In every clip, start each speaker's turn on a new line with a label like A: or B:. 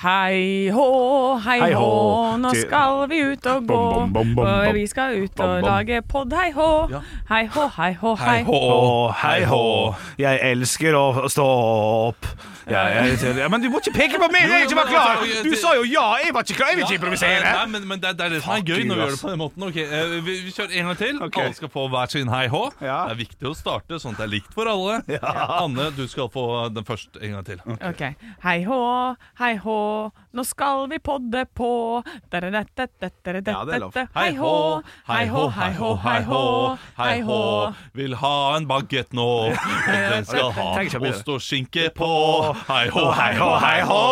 A: Hei hå, hei
B: Hei
A: hå,
B: hå.
A: nå
B: Til-
A: skal vi ut og gå.
B: Bom, bom, bom, bom,
A: Og
B: bom.
A: vi skal ut
B: Bom,
A: og
B: bom.
A: lage pod, hei hå. Hei hå, hei hå, hei.
B: Hei hå, hei hå, jeg elsker å stå opp. Ja, jeg, ja, men du må ikke peke på meg! Jeg er ikke bare klar! Du sa jo ja! Jeg var ikke klar, jeg vil ikke improvisere!
C: Nei, men, men det, det er det som er
B: Fuck
C: gøy
B: you,
C: når vi gjør
B: ass.
C: det på den måten. Ok, eh, vi, vi kjører en gang til.
B: Ok.
C: Alle skal få hver sin hei hå.
B: Ja.
C: Det er viktig å starte sånn at det er likt for alle. Anne, du skal få den først en gang til.
A: Ok, hei hå, hei hå, nå skal vi podde på. Ja,
B: det er lov.
A: Hei hå, hei hå, hei hå, hei hå, hei hå.
C: Vil ha en bagett nå. Og den skal ha
B: Tenk ikke på det.
C: ost og skinke på. Hei hå,
B: Hei hå, hei hå,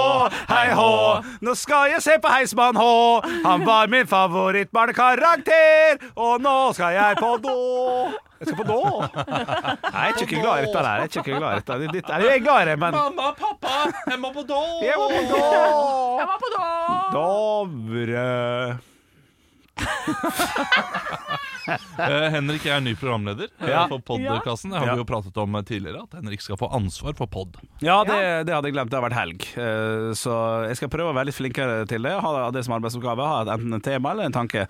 B: hei hå. Nå skal jeg se på Heismann H. Han var min favorittbarnekarakter, og nå skal jeg på do. Jeg skal på do. Nei, jeg er ikke glad i dette der. Jeg er ikke glad i dette. Det- Dette er jo jeg glad i, men
C: Mamma, pappa, jeg må på do.
B: jeg må på do.
A: Jeg var på do!
B: Dovre
C: Eh, Henrik er ny programleder eh,
B: Ja.
C: for podkassen. Det har
B: Ja.
C: vi jo pratet om eh, tidligere, at Henrik skal få ansvar for pod.
B: Ja, det, det hadde jeg glemt. Det har vært helg. Eh, Så jeg skal prøve å være litt flinkere til det. Ha det som arbeidsoppgave. Ha et- enten et tema eller en tanke.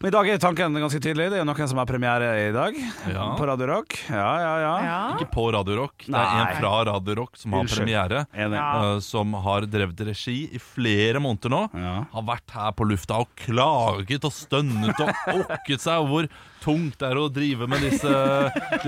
B: Men i dag er tanken ganske tydelig. Det er jo noen som har premiere i dag
C: Ja.
B: på Radio Rock. Ja, ja, ja.
A: Ja,
C: Ikke på Radio Rock. Det er
B: Nei.
C: en fra Radio Rock som har
B: Unnskyld.
C: premiere.
B: Enig.
C: eh, som har drevet regi i flere måneder nå.
B: Ja.
C: Har vært her på lufta og klaget og stønnet og okket seg over hvor tungt det er å drive med disse,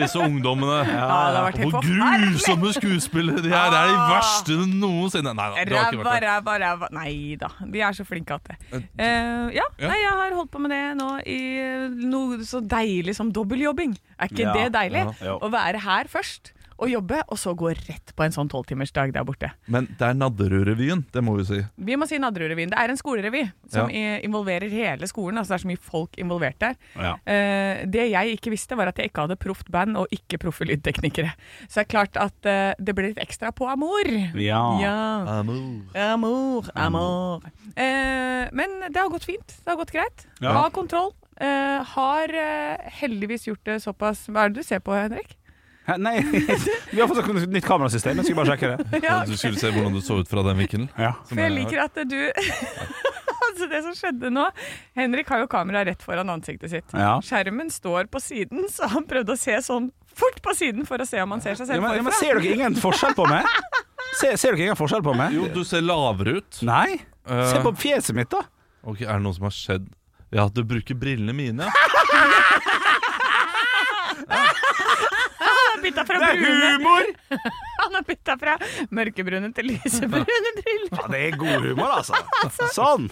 C: disse ungdommene.
A: ja det har vært helt
C: Hvor
A: forferdelig.
C: grusomme skuespillere de er! Det er de
A: Ah.
C: verste noensinne! Nei da, det har ikke
A: Ræva,
C: vært det.
A: ræva, ræva Nei da, de er så flinke at det. Eh, ja,
C: Ja.
A: Nei, jeg har holdt på med det nå i eh, noe så deilig som dobbeltjobbing. Er ikke
B: Ja,
A: det deilig?
B: ja, ja.
A: Å være her først og jobbe, og så gå rett på en sånn tolvtimersdag der borte.
C: Men det er Nadderud-revyen, det må vi si.
A: Vi må si Nadderudrevyen. Det er en skolerevy som i- involverer hele skolen. Altså det er så mye folk involvert der.
B: Ja.
A: Eh, det jeg ikke visste, var at jeg ikke hadde proft band og ikke proffe lydteknikere. Så det er klart at eh, det blir litt ekstra på amor.
B: Ja.
A: ja. Amor, amor. Eh, men det har gått fint. Det har gått greit.
B: Ja.
A: Ha kontroll. Eh, har eh, heldigvis gjort det såpass Hva er det du ser på, Henrik?
B: Hæ, Nei, vi har fått et nytt kamerasystem. Jeg skal bare sjekke det.
A: Ja,
C: Du skulle se hvordan du så ut fra den vinkelen.
B: Ja.
A: for jeg liker at du Altså, det som skjedde nå Henrik har jo kameraet rett foran ansiktet sitt.
B: Ja.
A: Skjermen står på siden, så han prøvde å se sånn fort på siden for å se om han ser seg
B: Ja,
A: selv
B: men, ja, men
A: forfra.
B: ser dere ingen forskjell på meg? Ser, ser dere ingen forskjell på meg?
C: Jo, du ser lavere ut.
B: Nei?
C: Eh,
B: Se på fjeset mitt, da.
C: Ok, Er det noe som har skjedd? Ja, du bruker brillene mine. ja.
A: Han har bytta fra brune
B: humor!
A: Han har bytta fra mørkebrune til lysebrune briller.
B: Ja, det er god humor, altså. Sånn.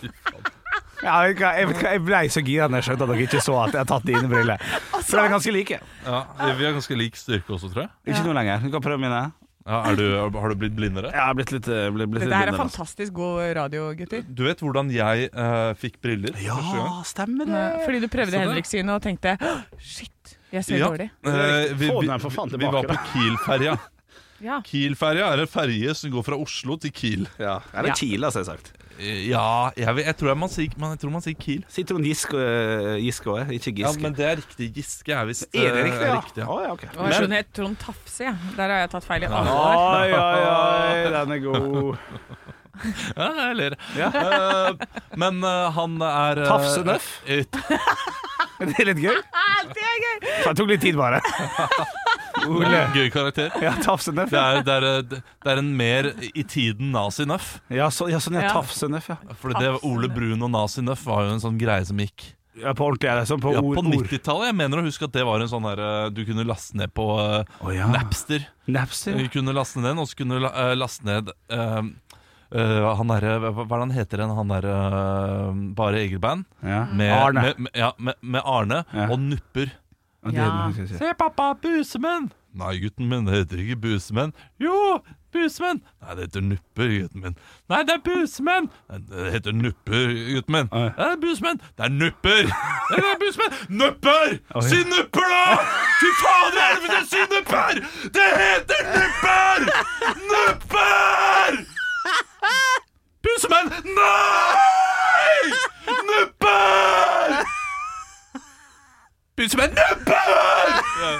B: Ja, jeg, vet ikke hva- jeg, vet ikke hva, jeg ble så gira når jeg skjønte at dere ikke så at jeg har tatt dine briller. For de er ganske like.
C: Ja, Vi har ganske lik styrke også, tror jeg.
B: Ikke noe lenger. Du kan prøve mine.
C: Ja, er du, har du blitt blindere?
B: Jeg har blitt litt, eh, blitt, blitt litt
A: Dette her er
B: blindere, altså.
A: fantastisk god radio, gutter.
C: Du vet hvordan jeg eh, fikk briller første gang?
B: Ja, Ah, stemmer
A: Nei,
B: det.
A: Fordi du prøvde
C: Så det-
A: Henrik sine og tenkte «Åh, Shit, jeg ser dårlig.
C: eh, vi,
B: Få
C: vi,
B: den for faen
C: vi
B: tilbake, da.
C: var på Kiel-ferja.
A: Ja.
C: Kiel-ferja er en ferje som går fra Oslo til Kiel.
B: Ja, Eller Kila, som altså, jeg har sagt.
C: Eh, Ja, jeg, vet- jeg, tror, jeg, man sier, man, jeg tror man sier Kiel.
B: Sitron Giske, eh, Giske også, ikke Giske.
C: Ja, Men det er riktig. Giske er visst
B: Er det
C: eh,
B: riktig, ja?
C: riktig, ja.
B: Å, ja, ok.
A: Og jeg skjønner helt Trond Tafse, jeg. Der har jeg tatt feil i alle år.
B: Oi, oi, oi, den er god.
C: Ja, jeg ler. Eh, men eh, han er eh,
B: Tafse Nøff?
C: eh,
B: Det er litt gøy.
A: Ah, Det er gøy!
B: Så det tok litt tid, bare. Ole.
C: Gøy karakter.
B: Ja, Tafsenøff.
C: Det
B: Ja.
C: er, det, er, det er en mer i tiden nazi-nøff.
B: Ja, så, ja, sånn, ja,
A: Ja.
B: Tafsenøff, ja.
C: For det Ole Brun og nazi-nøff var jo en sånn greie som gikk
B: ja. På ordentlig, er det sånn på
C: ja,
B: ord.
C: på
B: ord.
C: 90-tallet. Jeg mener å huske at det var en sånn der eh, du kunne laste ned på eh,
B: Å, ja.
C: Napster.
B: Napster.
C: Du kunne laste ned den, og så kunne du la- eh, laste ned eh, eh, han derre Hva hva er det han heter igjen? Han derre eh, Bare Egerband?
B: Ja.
C: Med
B: Arne.
C: Med, med, ja, med, med Arne
B: Ja.
C: og Nupper.
B: Ja, det er
A: Ja.
B: det jeg skulle si.
C: Se, pappa, Busemenn! Nei, gutten min, det heter ikke Busemenn. Jo, Busemenn! Nei, det heter Nupper, gutten min. Nei, det er Busemenn! Nei, det heter Nupper, gutten min. Nei, det er Busemenn. Det er Nupper! Nei, det er Busemenn! Nupper! Si Nupper, da! Fy fader i helvete, si Nupper! Det heter Nupper! Nupper! Busemenn! Nei! Nupper! Busemenn! Nupper! Ja.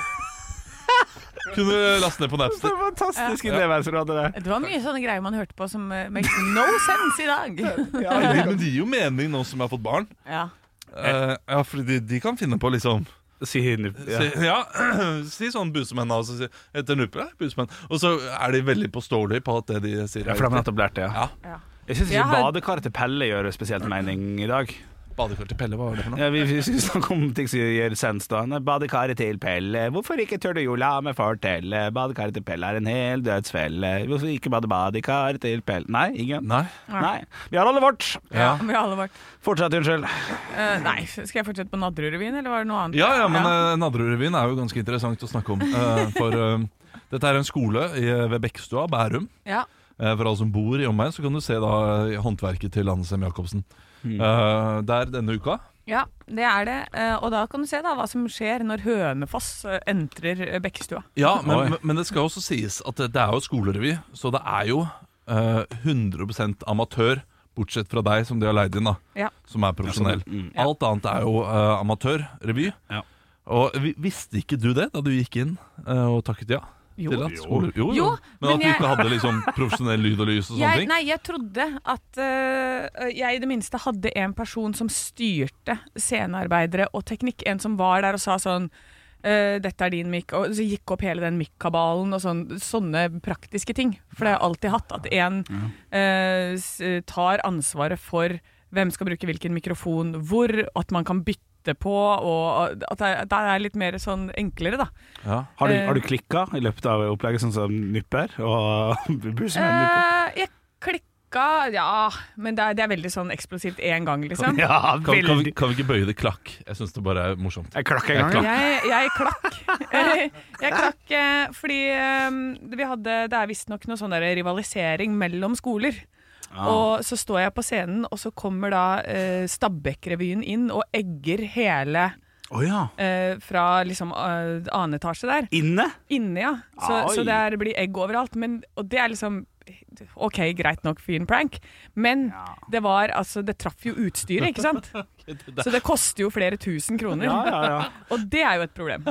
C: Kunne laste ned på Napster.
B: Så fantastisk innlevelse du hadde der.
A: Det var mye sånne greier man hørte på som eh, makes no sense i dag.
B: Ja,
C: Ja,
B: det-
C: men de gir jo mening nå som jeg har fått barn.
A: Ja.
C: Eh, ja, fordi de, de kan finne på liksom
B: Si henne
C: Si,
B: ja.
C: ja. si sånn busemenn da, og så si, etter nuppe, ja, busemenn. Og så er de veldig påståelige på at det de sier
B: Ja,
C: er
B: for de har
C: riktig.
B: nettopp lært det, ja.
C: Ja.
A: Ja.
B: Jeg syns
A: Jeg
B: ikke
A: har-
B: badekaret til Pelle gjør spesielt mening i dag.
C: Badekar til Pelle, hva var det for noe?
B: Ja, vi vi skulle snakke om ting som gjør sens, da. Nei, Badekaret til Pelle, hvorfor ikke tør du jo la meg fortelle? Badekaret til Pelle er en hel dødsfelle. Hvorfor ikke bade badekaret til Pelle? Nei, ingen?
C: Nei.
B: Nei. Vi har alle vårt.
C: Ja.
A: Vi har alle vært.
B: Fortsett, unnskyld.
A: Eh, nei, skal jeg fortsette på Nadderudrevyen, eller var det noe annet?
C: Ja, ja, men eh, Nadderudrevyen er jo ganske interessant å snakke om. eh, for eh, dette er en skole i, eh, ved Bekkestua, Bærum.
A: ja.
C: Eh, For alle som bor i omegn, så kan du se da eh, håndverket til Anne Sem Jacobsen. Eh, der denne uka.
A: Ja, det er det. Eh, Og da kan du se da hva som skjer når Hønefoss eh, entrer eh, Bekkestua.
C: Ja,
B: Oi.
C: men, men- men det skal også sies at det det er jo skolerevy, så det er jo eh, 100 amatør, bortsett fra deg som de har leid inn, da,
A: Ja.
C: som er profesjonell.
B: Mm.
C: Alt annet er jo eh, amatørrevy.
B: Ja.
C: Og vi- visste ikke du det da du gikk inn eh, og takket ja?
A: Jo.
C: til at skole- jo, jo.
A: Jo,
C: men at
A: men
C: du
A: jeg-
C: ikke hadde liksom profesjonell lyd og lys og sånne
A: Jeg,
C: ting?
A: nei, jeg trodde at eh, jeg i det minste hadde en person som styrte scenearbeidere og teknikk. En som var der og sa sånn eh, dette er din mic, og så gikk opp hele den mic-kabalen og sånn, sånne praktiske ting. For det har jeg alltid hatt, at en eh, s- tar ansvaret for hvem skal bruke hvilken mikrofon hvor, at man kan bytte på, og eh, at det er- at det er litt mer sånn enklere, da.
C: Ja.
B: Har du, har du klikka i løpet av opplegget, sånn som Nupper og Busemenn?
A: Eh, jeg klikka, ja, men det er, det er veldig sånn eksplosivt én gang, liksom.
B: Ja,
C: Kan, kan, vi,
B: veldig.
C: kan vi ikke bøye det klakk? Jeg syns det bare er morsomt.
B: Jeg klakka en gang.
A: Jeg, jeg klakk. Eh, Jeg klakk eh, fordi eh, vi hadde, det er visstnok noe sånn der rivalisering mellom skoler.
B: Ah.
A: Og så står jeg på scenen, og så kommer da eh, Stabekk-revyen inn og egger hele
B: Å ja.
A: eh, fra liksom eh, annen etasje der.
B: Inne?
A: Inne, ja.
B: Ai.
A: Så, så det er, blir egg overalt. Men, og det er liksom OK, greit nok, fin prank, men det var altså Det traff jo utstyret, ikke sant? Så det koster jo flere tusen kroner.
B: Ja, ja, ja.
A: Og det er jo et problem.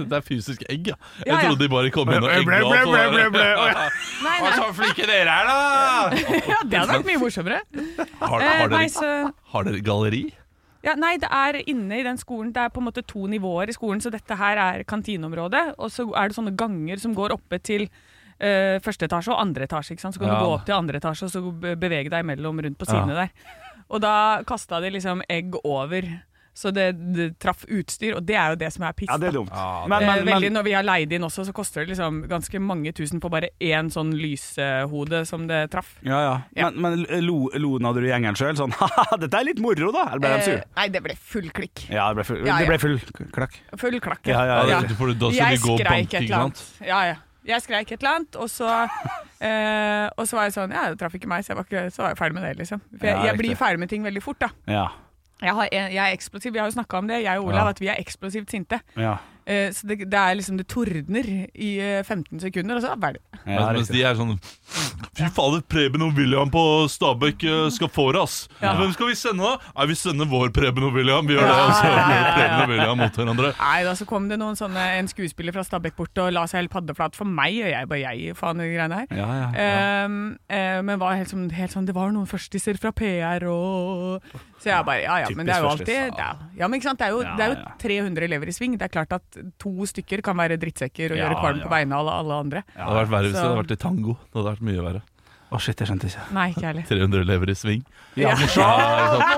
C: Det er fysisk egg, ja. Jeg
A: Ja, ja.
C: trodde de bare kom inn og
B: Ble,
C: egga
B: ble, ble, ble, ble,
C: alt.
B: ble. Å, ja.
A: Nei, nei,
C: flinke dere er, da!
A: ja, det hadde vært mye morsommere.
C: Har,
A: Eh,
C: har,
A: nei,
C: dere,
A: så,
C: har dere galleri?
A: ja, nei, det er inne i den skolen. Det er på en måte to nivåer i skolen, så dette her er kantineområdet. Og så er det sånne ganger som går oppe til eh, første etasje og andre etasje. Ikke sant? Så kan
C: Ja.
A: du gå opp til andre etasje og så be- bevege deg imellom rundt på
C: Ja.
A: sidene der. Og da kasta de liksom egg over. Så det, det traff utstyr, og det er jo det som er piss.
B: ja, det
A: da.
B: er dumt.
C: Ja,
B: Men,
A: Eh,
B: men,
A: Veldig,
B: men
A: når vi har leid inn også, så koster det liksom ganske mange tusen på bare én sånn lysehode som det traff.
B: ja, ja.
A: Ja.
B: Men, men lo, lo Nadderud gjengen sjøl sånn ha dette er litt moro, da? Eller ble de sur?
A: Eh, nei, det ble full klikk.
B: Ja, det ble full,
A: ja, ja.
B: Det ble full klakk.
A: Full klakk.
B: Ja, ja,
C: Ja,
B: ja.
C: det- for da skal
A: Jeg
C: de gå og
A: skreik
C: banke,
A: et
C: ikke
A: eller annet.
C: sant?
A: Ja, ja. Jeg skreik et eller annet, og så, eh, og så var jeg sånn Ja, det traff ikke meg, så jeg var, ikke, så var jeg ferdig med det, liksom. For jeg,
B: Ja,
A: jeg blir
B: riktig.
A: ferdig med ting veldig fort, da.
B: Ja.
A: Jeg, har, en- jeg er eksplosiv. Vi har jo snakka om det, jeg og Olav,
C: Ja.
A: at vi er eksplosivt sinte.
B: ja.
A: Eh, så det, det er liksom Det tordner i eh, 15 sekunder, og så er det ferdig.
B: ja
C: mens, mens
B: riktig.
C: de er sånn Fy fader, Preben og William på Stabekk eh, skal få det, ass.
A: Ja.
C: Hvem skal vi sende, da? Nei, vi sender vår Preben og William. Vi gjør det,
A: Ja,
C: og så
A: ja, ja,
C: gjør
A: ja,
C: Preben
A: ja.
C: og William mot hverandre.
A: Nei da, så kom det noen sånne En skuespiller fra Stabekk bort og la seg helt paddeflat for meg, og jeg bare Jeg, faen, de greiene her.
B: ja, ja, ja.
A: Ehm, eh, men var helt, sånn- helt sånn Det var noen førstisser fra PR og Så jeg bare Ja ja, men det er jo
B: Typisk
A: alltid
B: førstis.
A: det er, Ja, men ikke sant. Det er, jo,
B: Ja,
A: det er jo
B: ja.
A: 300 elever i sving. Det er klart at to stykker kan være drittsekker og
B: Ja,
A: gjøre kvalm
B: ja.
A: på vegne av alle, alle andre.
C: Det hadde vært verre hvis det hadde
A: Så-
C: vært i tango. Det hadde vært mye verre.
B: Å, shit, jeg skjønte ikke.
A: 'Nei, ikke jeg heller'.
C: 300 elever i sving.
B: Ja, morsom!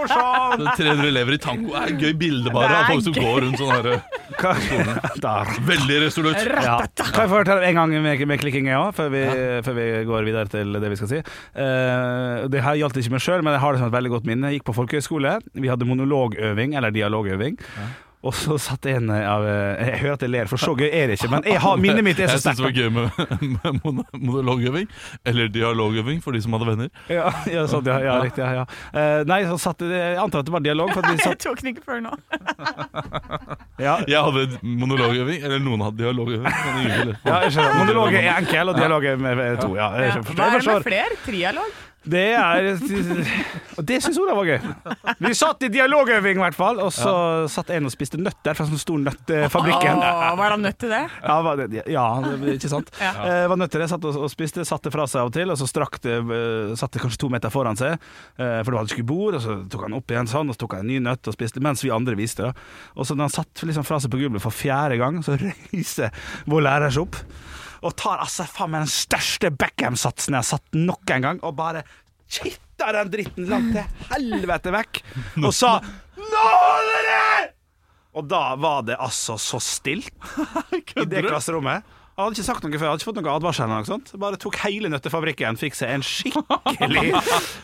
B: morsom!
C: Så 300 elever i tango er et gøy bilde, bare.
A: Det er
C: Av folk som
A: gøy.
C: går rundt sånn her eh,
B: Hva- Der.
C: Veldig resolutt.
B: Ja. Kan jeg få fortelle en gang med, med klikking jeg også, før, vi- før vi går videre til det vi skal si? Eh, det her gjaldt ikke meg sjøl, men jeg har det som et veldig godt minne. Jeg gikk på folkehøyskole. Vi hadde monologøving, eller dialogøving. Og så satt en av eh, Jeg hører at jeg ler, for så gøy er det ikke. Men jeg har, minnet mitt er så
C: Jeg
B: sterkt.
C: syns det var gøy med, med mono- monologøving, eller dialogøving, for de som hadde venner.
B: Ja, ja, sånn, ja, ja riktig. Ja, ja. Eh, nei, så satt, jeg antar at det var dialog. For at vi
A: Jeg
B: satt,
A: tok den ikke før nå.
B: ja,
C: Jeg hadde monologøving, eller noen hadde dialogøving. Men ingen ville.
B: ja, jeg skjønner. Monolog er enkel, og dialog er med med to. Ja, jeg
A: Ja.
B: forstår,
A: Hva
B: jeg
A: er det med
B: forstår.
A: fler? Trialog?
B: Det er Og det syns Olav var gøy. Vi satt i dialogøving, i hvert fall. Og så satt en og spiste nøtter fra en sånn stor nøttfabrikk.
A: Åh, var han nødt til det?
B: Ja, var det, ja, det- ikke sant?
A: Ja.
B: Eh, var nødt til det, satt og, og spiste, satte fra seg av og til, og så strakk det, eh, satt det kanskje to meter foran seg, eh, for det var ikke bord, og så tok han opp igjen sånn, og så tok han en ny nøtt og spiste, mens vi andre viste det. Og så når han satt liksom fra seg på gulvet for fjerde gang, så reiser vår lærer seg opp, og tar altså faen meg den største Beckham-satsen jeg har satt nok en gang, og bare kitter den dritten langt til helvete vekk, og sa «Nå holder det!» Og da var det altså så stilt i det klasserommet. Jeg hadde ikke sagt noe før, jeg hadde ikke fått noen advarsel. eller noe sånt Bare tok hele nøttefabrikken, fikk seg en skikkelig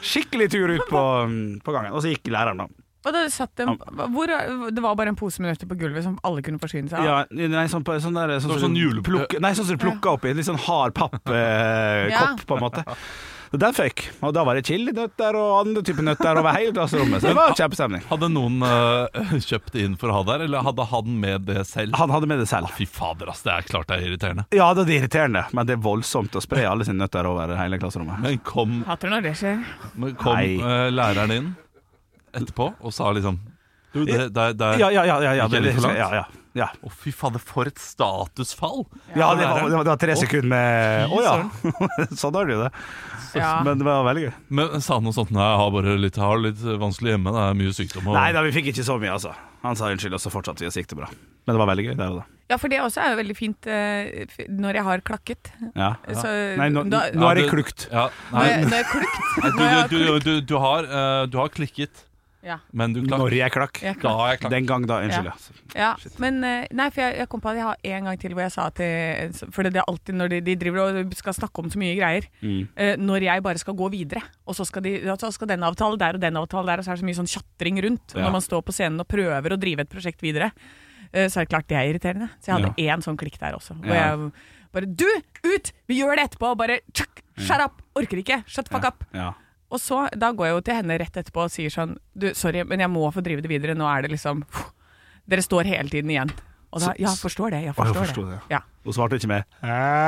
B: Skikkelig tur ut på, um, på gangen. Og så gikk læreren, da.
A: Og da satt en, hvor, det var bare en pose med nøtter på gulvet som alle kunne forsyne seg av.
B: Ja, nei, sånn, på- sånn der
C: var
B: Sånn som
C: sånn
B: du
C: jule-
B: plukker- Nei, sånn som du plukka opp i en litt sånn hard pappkopp, eh,
A: Ja.
B: kopp, på en måte. Så Den føyk. Og da var det chilinøtter og andre typer nøtter over hele klasserommet. Så det var kjempestemning.
C: Hadde noen eh, kjøpt det inn for å ha der, eller hadde han med det selv?
B: Han hadde med det selv.
C: Fy fader, ass, det er klart det er irriterende.
B: Ja, det er irriterende, men det er voldsomt å spre alle sine nøtter over hele klasserommet.
C: Men kom,
A: Hater når det skjer.
C: men kom
B: Nei.
C: eh, læreren inn etterpå og sa liksom Du, det, det, det
B: Ja, ja, ja. ja, ja,
C: Gikk jeg
B: det,
C: litt for langt?
B: ja, ja, ja.
C: Å, fy fader, for et statusfall!
B: Ja, det var, det var, det var tre sekunder med Å ja! sånn har du det.
A: Ja.
B: Men det var veldig gøy.
C: Men sa han noe sånt Nei, jeg har bare litt, jeg har litt vanskelig hjemme, det er mye sykdom og
B: Nei da, vi fikk ikke så mye, altså. Han sa unnskyld, og så fortsatte vi, og så gikk det bra. Men det var veldig gøy, det òg, da.
A: ja, for det også er jo veldig fint eh, f- når jeg har klakket.
B: Ja.
A: Så-
B: Nei, nå,
A: da-
B: nå er det
C: Ja, du-
B: klukt.
C: Ja,
A: Når
C: nei,
A: jeg, når jeg har klukt.
C: du,
A: Når jeg har
C: du, du, du, du, har, eh, du har klikket,
A: Ja.
C: men du klart,
B: Når jeg klakk.
A: Jeg
C: da
A: klakket.
C: har jeg klart.
B: Den gang da, unnskyld. Ja.
A: Ja, men eh, nei, for jeg, jeg kom på at jeg har en gang til hvor jeg sa til For det er alltid når de, de driver og skal snakke om så mye greier.
B: mm.
A: eh, når jeg bare skal gå videre, og så skal, de, ja, så skal den avtale der og den avtale der, og så er det så mye sånn tjatring rundt
B: Ja.
A: når man står på scenen og prøver å drive et prosjekt videre. eh, så er det klart det er irriterende. Så jeg hadde én sånn klikk der også. Hvor
B: Ja.
A: jeg bare Du, ut! Vi gjør det etterpå! Og bare tjukk! Shut up! Orker ikke! Shut the fuck up!
B: Ja.
A: Og så, da går jeg jo til henne rett etterpå og sier sånn Du, sorry, men jeg må få drive det videre. Nå er det liksom pff, Dere står hele tiden igjen. Og da Ja, forstår det. Jeg
B: Å, jeg
A: forstår,
B: forstår det,
A: Ja.
B: Hun svarte ikke med.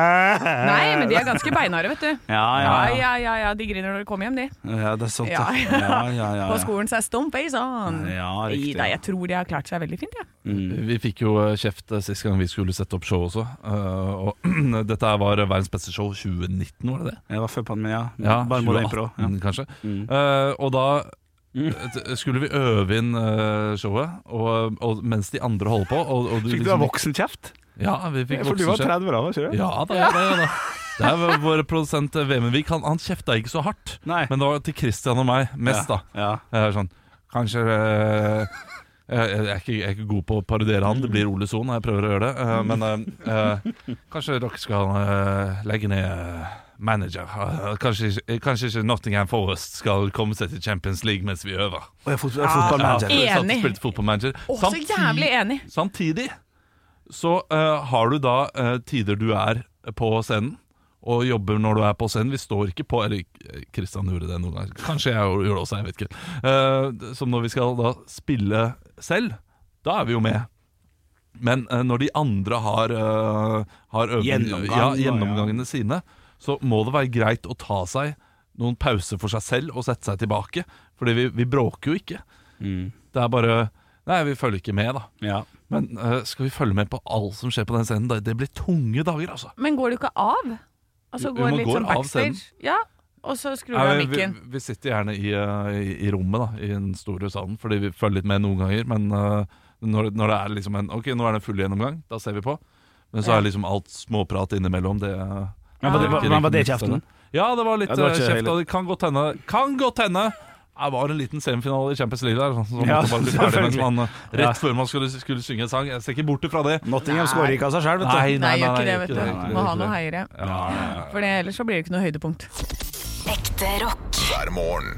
A: Nei, men de er ganske beinharde, vet du.
B: Ja, ja,
A: Ja,
B: ja.
A: ja, ja, ja. De griner når de kommer hjem, de.
B: ja det er sant, ja.
A: Ja.
B: Ja, ja, ja,
A: På
B: ja.
A: skolen så er stump eh, face on.
B: Ja, riktig,
A: Neida,
B: ja. Mm.
A: jeg tror de har klart seg veldig fint, jeg. Ja.
C: Vi fikk jo eh, kjeft eh, sist gang vi skulle sette opp show også. eh, og dette var eh, verdens beste show 2019, var det det?
B: Jeg var før pandemien, ja. mm.
C: Ja,
B: Bare moro impro. Ja.
C: 2018 kanskje. Eh, og da
B: Mm.
C: eh, skulle vi øve inn eh, showet, og, og mens de andre holder på og, og
B: Fikk du ha
C: liksom-
B: voksenkjeft?
C: Ja, vi fikk
B: For du var
C: voksenkjeft.
B: 30 år da, var ikke du?
C: Ja da, ja da, ja da. Det er vel vår produsent eh, Vemundvik. Han, han kjefta ikke så hardt,
B: Nei.
C: men det var til Christian og meg mest, da.
B: Ja.
C: Jeg er sånn Kanskje eh, jeg, jeg, er ikke, jeg er ikke god på å parodiere han. Det blir Ole Soo når jeg prøver å gjøre det. eh, men eh, eh, kanskje dere skal eh, legge ned eh, manager. Eh, kanskje, ikke- kanskje ikke Nottingham Forest skal komme seg til Champions League mens vi øver.
B: Og jeg er fot- jeg er fotballmanager.
A: Ja.
C: Jeg satt og
A: Enig.
C: Spilte fotballmanager.
A: Å, så jævlig enig!
C: Samtidig så eh, har du da eh, tider du er på scenen, og jobber når du er på scenen. Vi står ikke på Eller eh, Kristian gjorde det noen ganger. Kanskje jeg gjorde det også, jeg vet ikke. Eh, som når vi skal da spille selv, da er vi jo med. Men eh, når de andre har, eh, har øving-
B: Gjennomgang,
C: ja,
B: da, ja.
C: gjennomgangene sine, så må det være greit å ta seg noen pauser for seg selv og sette seg tilbake. Fordi vi, vi bråker jo ikke. Det er bare Nei, vi følger ikke med, da.
B: Mm. Ja.
C: Men eh, skal vi følge med på alt som skjer på den scenen? Det, det blir tunge dager, altså.
A: Men går du ikke av? Altså
C: Jo,
A: går
C: man
A: litt
C: går
A: sånn
C: av
A: backstage? Ja, og så skrur du av
C: Nei, vi,
A: mikken.
C: vi sitter gjerne i, eh, i, i rommet, da, i den store salen, fordi vi følger litt med noen ganger. Men eh, når, når det er liksom en Ok, nå er det full gjennomgang, da ser vi på. Men så
A: Ja.
C: er liksom alt småprat innimellom. Det,
B: Men var det-
C: er ikke
B: men var det
C: like mye
B: kjeften?
C: spennende. Ja, det var
B: Ja,
C: litt
B: det var
C: eh,
B: ikke
C: kjeft.
B: hele-
C: Og det kan godt hende Kan godt hende! Det var en liten semifinale i Champions League der. Så, så måtte
B: Ja,
C: man bare bli ferdig mens
B: selvfølgelig.
C: man, eh, rett
B: Ja.
C: før man skulle, skulle synge en sang. Jeg ser ikke bort ifra det.
B: Nottingham skårer ikke av seg sjøl, vet du.
A: Nei, gjør ikke det,
C: gjør
A: vet
C: ikke det, gjør
A: du.
C: ikke det,
A: Må
C: gjør
A: ha
C: ikke
A: noe
C: det.
A: heiere. For det- ellers så blir det ikke noe høydepunkt.
D: hver morgen.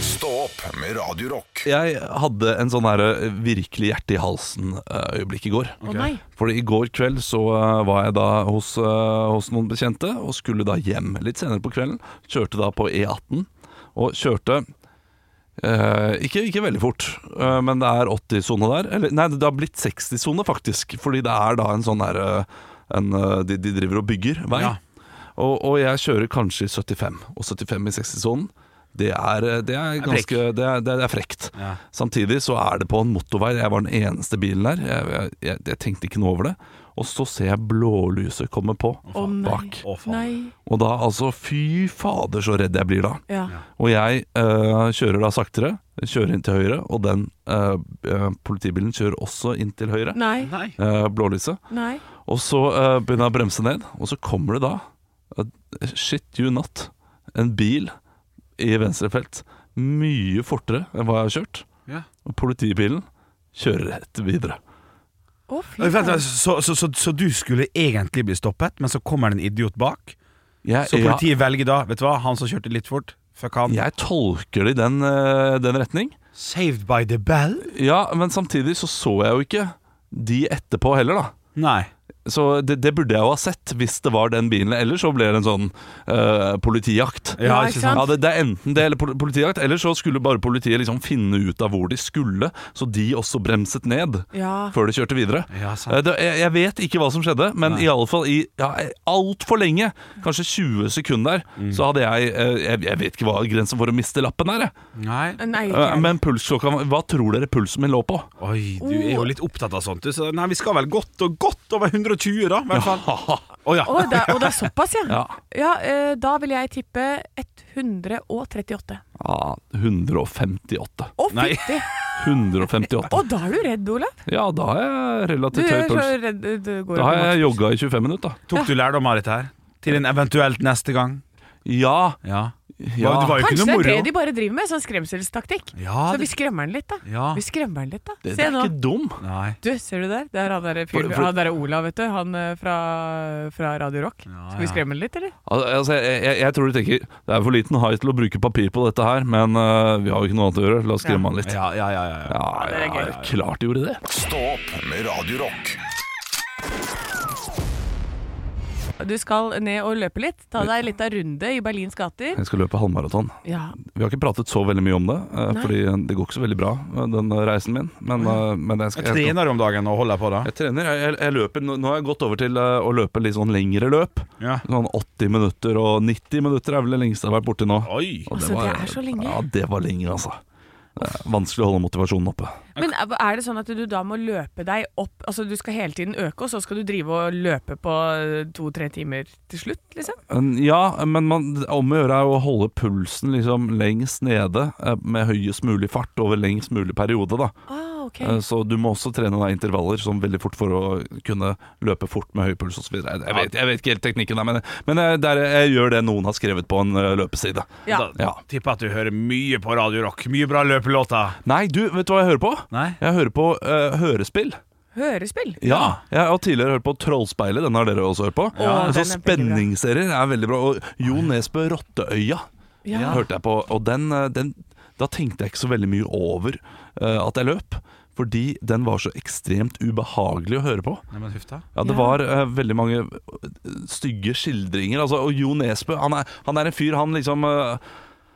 D: Stå opp med Radio Rock.
C: jeg hadde en sånn her eh, virkelig hjerte i halsen-øyeblikk i går.
A: Å nei.
C: Fordi i går kveld så eh, var jeg da hos, eh, hos noen bekjente og skulle da hjem litt senere på kvelden. Kjørte da på E18 og kjørte eh, ikke, ikke veldig fort, eh, men det er 80-sone der. Eller, nei, det har blitt 60-sone faktisk, fordi det er da en sånn her eh, en, eh, de, de driver og bygger vei.
B: Ja.
C: Og, og jeg kjører kanskje i 75, og 75 i 60-sonen. Det er, eh, det er
B: frekk.
C: ganske det er, det er frekt.
B: Ja.
C: Samtidig så er det på en motorvei. Jeg var den eneste bilen der. Jeg, jeg, jeg, jeg tenkte ikke noe over det. Og så ser jeg blålyset komme på
A: Å nei.
C: bak.
B: Å, faen.
A: Nei.
C: Og da altså Fy fader, så redd jeg blir da.
A: Ja.
C: Og jeg eh, kjører da saktere. Kjører inn til høyre, og den eh, eh, politibilen kjører også inn til høyre.
A: Nei.
B: Nei.
C: eh, blålyset.
A: Nei.
C: Og så eh, begynner jeg å bremse ned, og så kommer det da, eh, shit you not, en bil i venstrefelt mye fortere enn hva jeg har kjørt.
B: Ja.
C: Og politibilen kjører rett videre.
A: Å, fy
B: Vent,
A: faen.
B: vent, Så, så, så, så du skulle egentlig bli stoppet, men så kommer det en idiot bak?
C: Jeg,
B: Så politiet velger da Vet du hva, han som kjørte litt fort, fuck han.
C: jeg, jeg tolker det i den, eh, den retning.
B: Saved by the bell?
C: Ja, men samtidig så så jeg jo ikke de etterpå heller, da.
B: Nei.
C: Så det, det burde jeg jo ha sett hvis det var den bilen. Ellers så ble det en sånn eh, politijakt.
B: Ja,
A: Ja, ikke
B: ikke
A: sant?
B: sant?
C: Ja, det, det er enten det eller pol- politijakt, eller så skulle bare politiet liksom finne ut av hvor de skulle, så de også bremset ned
A: Ja.
C: før de kjørte videre.
B: Ja,
C: Eh,
B: sant.
C: Det, jeg, jeg vet ikke hva som skjedde, men
B: Nei.
C: i alle fall i ja, altfor lenge, kanskje 20 sekunder,
B: Mm.
C: så hadde jeg, eh, jeg Jeg vet ikke hva grensen for å miste lappen er, jeg.
B: Nei.
A: Nei, ikke
C: Eh,
A: jeg.
C: men pulsklokka Hva tror dere pulsen min lå på?
B: Oi,
A: Oh.
B: du er jo litt opptatt av sånt. du, Så nei, vi skal vel godt og godt over 120, da. i hvert fall. Å ja.
A: Å, det er, og det er såpass, ja.
C: Ja,
A: Ja, eh, da vil jeg tippe 138.
C: ah, 158.
A: Å,
B: Nei.
A: fytti!
C: 158.
A: Å, da er du redd, Olav.
C: Ja, da har jeg
A: Du
C: relativt høy
A: er så
C: puls.
A: redd du går
C: Da har
A: opp i
C: jeg jogga i 25 minutter, da.
B: Tok du lærdom av dette her? Til en eventuelt neste gang?
C: Ja.
B: Ja.
C: ja.
B: Det var jo ikke
A: Kanskje
B: noe
A: det er det
B: moro.
A: de bare driver med, sånn skremselstaktikk.
B: Ja,
A: så
B: det,
A: vi skremmer den litt, da.
B: ja.
A: Vi skremmer den litt, da.
C: Det, det
A: Se
C: er
A: nå.
C: ikke dum.
B: Nei.
A: Du, ser du der? Det er han derre
C: For- for-
A: der Olav, vet du. Han eh, fra, fra Radio Rock. Skal vi skremme den litt, eller?
C: Al- Altså, jeg, jeg, jeg tror du tenker Det er for liten hai til å bruke papir på dette her, men øh, vi har jo ikke noe annet å gjøre. La oss skremme han litt.
B: Ja, ja, ja. ja, ja.
C: Ja,
A: det er
C: ja,
A: gøy.
C: ja, klart de gjorde det.
D: Stå opp med Radio Rock.
A: Du skal ned og løpe litt. Ta deg litt av runde i Berlins gater.
C: Jeg skal løpe halvmaraton.
A: Ja.
C: Vi har ikke pratet så veldig mye om det, øh,
A: Nei.
C: fordi det går ikke så veldig bra, øh, den øh, reisen min. Men, øh, men jeg,
B: Jeg
C: skal, jeg, skal,
B: trener om dagen og holder på, da.
C: jeg trener. Jeg, jeg, jeg løper. Nå nå har jeg gått over til øh, å løpe litt sånn lengre løp.
B: Ja.
C: Sånn 80 minutter og 90 minutter er vel det lengste jeg har vært borti nå.
B: Oi.
C: Og
A: Altså, det er så lenge.
C: Ja, det var lenge, altså. Det er vanskelig å holde motivasjonen oppe.
A: Men er er det sånn at du da må løpe deg opp Altså du skal hele tiden øke, og så skal du drive og løpe på eh, to-tre timer til slutt, liksom?
C: En- Ja, men man, om å gjøre er jo å holde pulsen liksom lengst nede eh, med høyest mulig fart over lengst mulig periode. da.
A: Ah, ok.
C: Eh, Så du må også trene da intervaller sånn veldig fort for å kunne løpe fort med høy puls osv. Jeg, jeg, vet- jeg vet ikke helt teknikken, der, men, men jeg, der, jeg gjør det noen har skrevet på en eh, løpeside.
A: Ja.
B: Da
C: Ja.
B: tipper at du hører mye på Radio Rock. Mye bra løpelåter.
C: Nei, du, vet du hva jeg hører på?
B: Nei?
C: Jeg hører på eh, hørespill.
A: Hørespill.
C: Ja, jeg har tidligere hørt på Trollspeilet, den har dere også hørt på.
A: Ja. den
C: Og så
A: er veldig bra.
C: Spenningsserier er veldig bra. Og Jo Nesbø Rotteøya
A: Ja.
C: hørte jeg på, og den, eh, den Da tenkte jeg ikke så veldig mye over eh, at jeg løp. Fordi den var så ekstremt ubehagelig å høre på.
B: Nei, men huff da.
C: Ja, Det
A: Ja.
C: var eh, veldig mange eh, stygge skildringer. Altså, og Jo Nesbø, han er, han er en fyr Han liksom eh,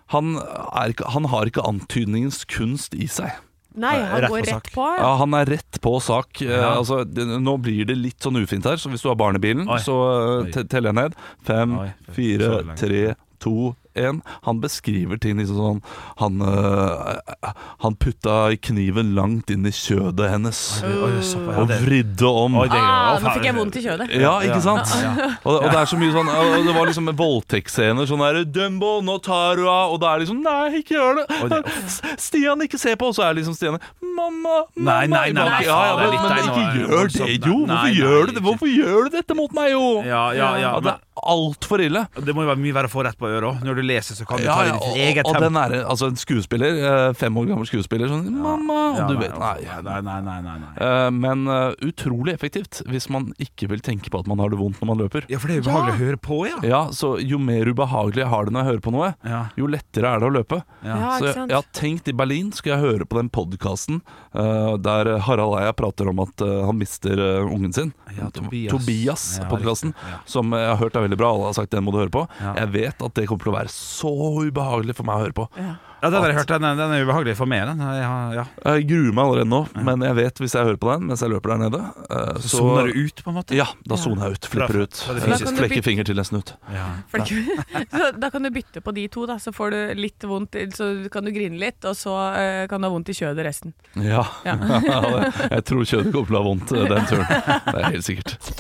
C: han, er ikke, han har ikke antydningens kunst i seg.
A: Nei, han
B: Rett på
A: går
B: sak.
A: rett på.
C: Ja, han er rett på sak. Eh,
B: Ja.
C: altså, det, nå blir det litt sånn ufint her, så hvis du har barnebilen,
B: Oi.
C: så eh,
B: Oi.
C: te- teller jeg ned. Fem,
B: Oi,
C: fire,
B: så langt.
C: tre, to, én. Han beskriver ting liksom sånn Han, eh, han putta kniven langt inn i kjødet hennes
B: Oi, såpass.
C: og vridde om.
B: Oi, det-
A: Ah, nå
B: faen.
A: fikk jeg vondt i kjødet.
C: Ja, ikke sant?
B: Ja, ja.
C: Og, og det er så mye sånn og Det var liksom voldtektsscener. Sånn der 'Dumbo, nå tar du av.' Og da er det liksom 'Nei, ikke gjør
B: Oi,
C: det'.
B: det-
C: S- Stian, ikke se på. Og så er det liksom Stian 'Mamma, mamma'.
B: Nei, nei, nei,
C: bak-
B: nei,
C: ja,
B: faen,
C: ja,
B: det er
C: men,
B: litt deg
C: men
B: nå,
C: ikke
B: er det
C: gjør
B: voldsomt, nei.
C: det, jo! Hvorfor
B: Nei, nei,
C: gjør du det?
B: ikke.
C: Hvorfor gjør du dette mot meg, jo?
B: Ja, ja, ja.
C: Ja, det
B: Men,
C: altfor ille.
B: Det må jo være mye verre å få rett på øret òg. Når du leser, så kan du
C: Ja,
B: ta det
C: ja,
B: i ditt
C: og,
B: eget
C: og den
B: tempo.
C: er altså en skuespiller, eh, fem år gammel skuespiller, sånn 'mamma' og
B: Ja,
C: du vet, nei,
B: nei, altså. nei, nei, nei, nei, nei.
C: Eh, Men eh, utrolig effektivt hvis man ikke vil tenke på at man har det vondt når man løper.
B: Ja, for det er ubehagelig å høre på, ja.
C: Ja, så Jo mer ubehagelig jeg har det når jeg hører på noe,
B: Ja.
C: jo lettere er det å løpe.
A: Ja,
C: så
A: ikke
C: jeg,
A: sant?
C: jeg har tenkt i Berlin skulle jeg høre på den podkasten der Harald Eia prater om at eh, han mister eh, ungen sin.
B: Ja, Tobias.
C: Tobias
B: Ja,
C: podkasten
B: riktig, ja.
C: Som jeg har hørt er veldig bra. Alle har sagt den må du høre på.
B: Ja.
C: Jeg vet at det kommer til å være så ubehagelig for meg å høre på.
B: ja den har jeg hørt. Den, er- den er ubehagelig for meg, den. Ja, ja.
C: Jeg gruer meg allerede nå, men jeg vet hvis jeg hører på den mens jeg løper der nede eh,
B: Så soner du ut, på en måte.
C: Ja, da soner jeg ut. Flipper ut.
B: Fra- fra det
C: eh,
B: fysiske.
C: Flekker finger til en snutt.
B: Ja.
A: For det er ikke- så da kan du bytte på de to, da. Så får du litt vondt, så kan du grine litt, og så eh, kan du ha vondt i kjødet resten.
C: Ja.
A: Ja.
C: jeg tror kjødet kommer til å ha vondt eh, den turen. Det er helt sikkert.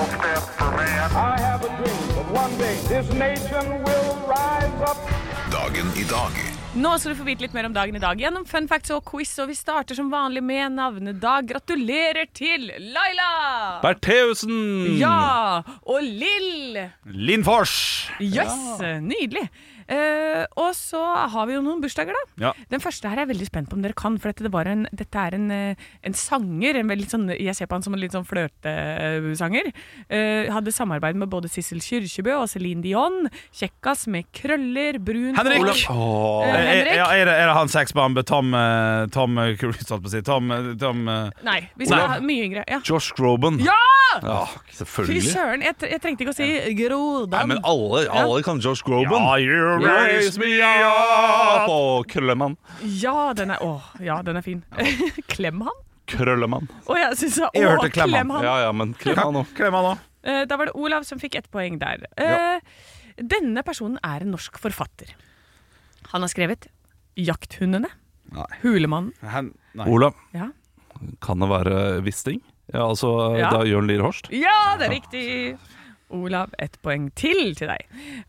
E: I have a dream that one day this nation will rise up.
D: Dagen i dag
A: Nå skal du få vite litt mer om dagen i dag gjennom fun facts og quiz, og vi starter som vanlig med navnedag. Gratulerer til Laila!
C: Bertheussen!
A: Ja! Og Lill!
B: Lindfors!
A: Yes! Nydelig. Eh, og så har vi jo noen bursdager, da.
B: Ja.
A: Den første her er jeg veldig spent på om dere kan, for dette, det var en, dette er en, eh, en sanger. En veldig sånn, jeg ser på han som en litt sånn flørtesanger. Eh, hadde samarbeid med både Sissel Kyrkjebø og Celine Dion. Kjekkas med krøller, brun
B: Henrik!
A: Olav-
B: Eh,
A: Eh, Henrik?
B: Ja, er, det, er det han sexbomb Tom eh, Tom eh, Cruise, holdt på å si. Tom, eh, Tom eh,
A: Nei, vi skal
C: Olav.
A: ha mye yngre. Ja.
C: Josh Groban.
A: Ja!
C: Ja,
A: Fy
C: selvfølgelig.
A: søren, jeg, tre- jeg trengte ikke å si
C: Nei,
A: Grodan.
C: men alle, alle kan Josh Groban.
B: you
C: Raise me up! Og Krøllemann.
A: Ja, den er, åh, ja, den er fin. Klem han?
C: Krøllemann.
A: Å, jeg syns jeg,
B: Jeg
A: åh,
B: hørte klem han.
A: klem han.
C: Ja, ja, men klem han òg.
B: Klem han nå.
A: Eh, Da var det Olav som fikk ett poeng der. Eh, Denne personen er en norsk forfatter. Han har skrevet 'Jakthundene',
B: Nei.
A: 'Hulemannen'.
B: Hen, nei.
C: Olav,
A: Ja.
C: kan det være Wisting? Ja, altså
A: Ja.
C: da Jørn Lier Horst?
A: ja, det er riktig! Olav, ett poeng til til deg.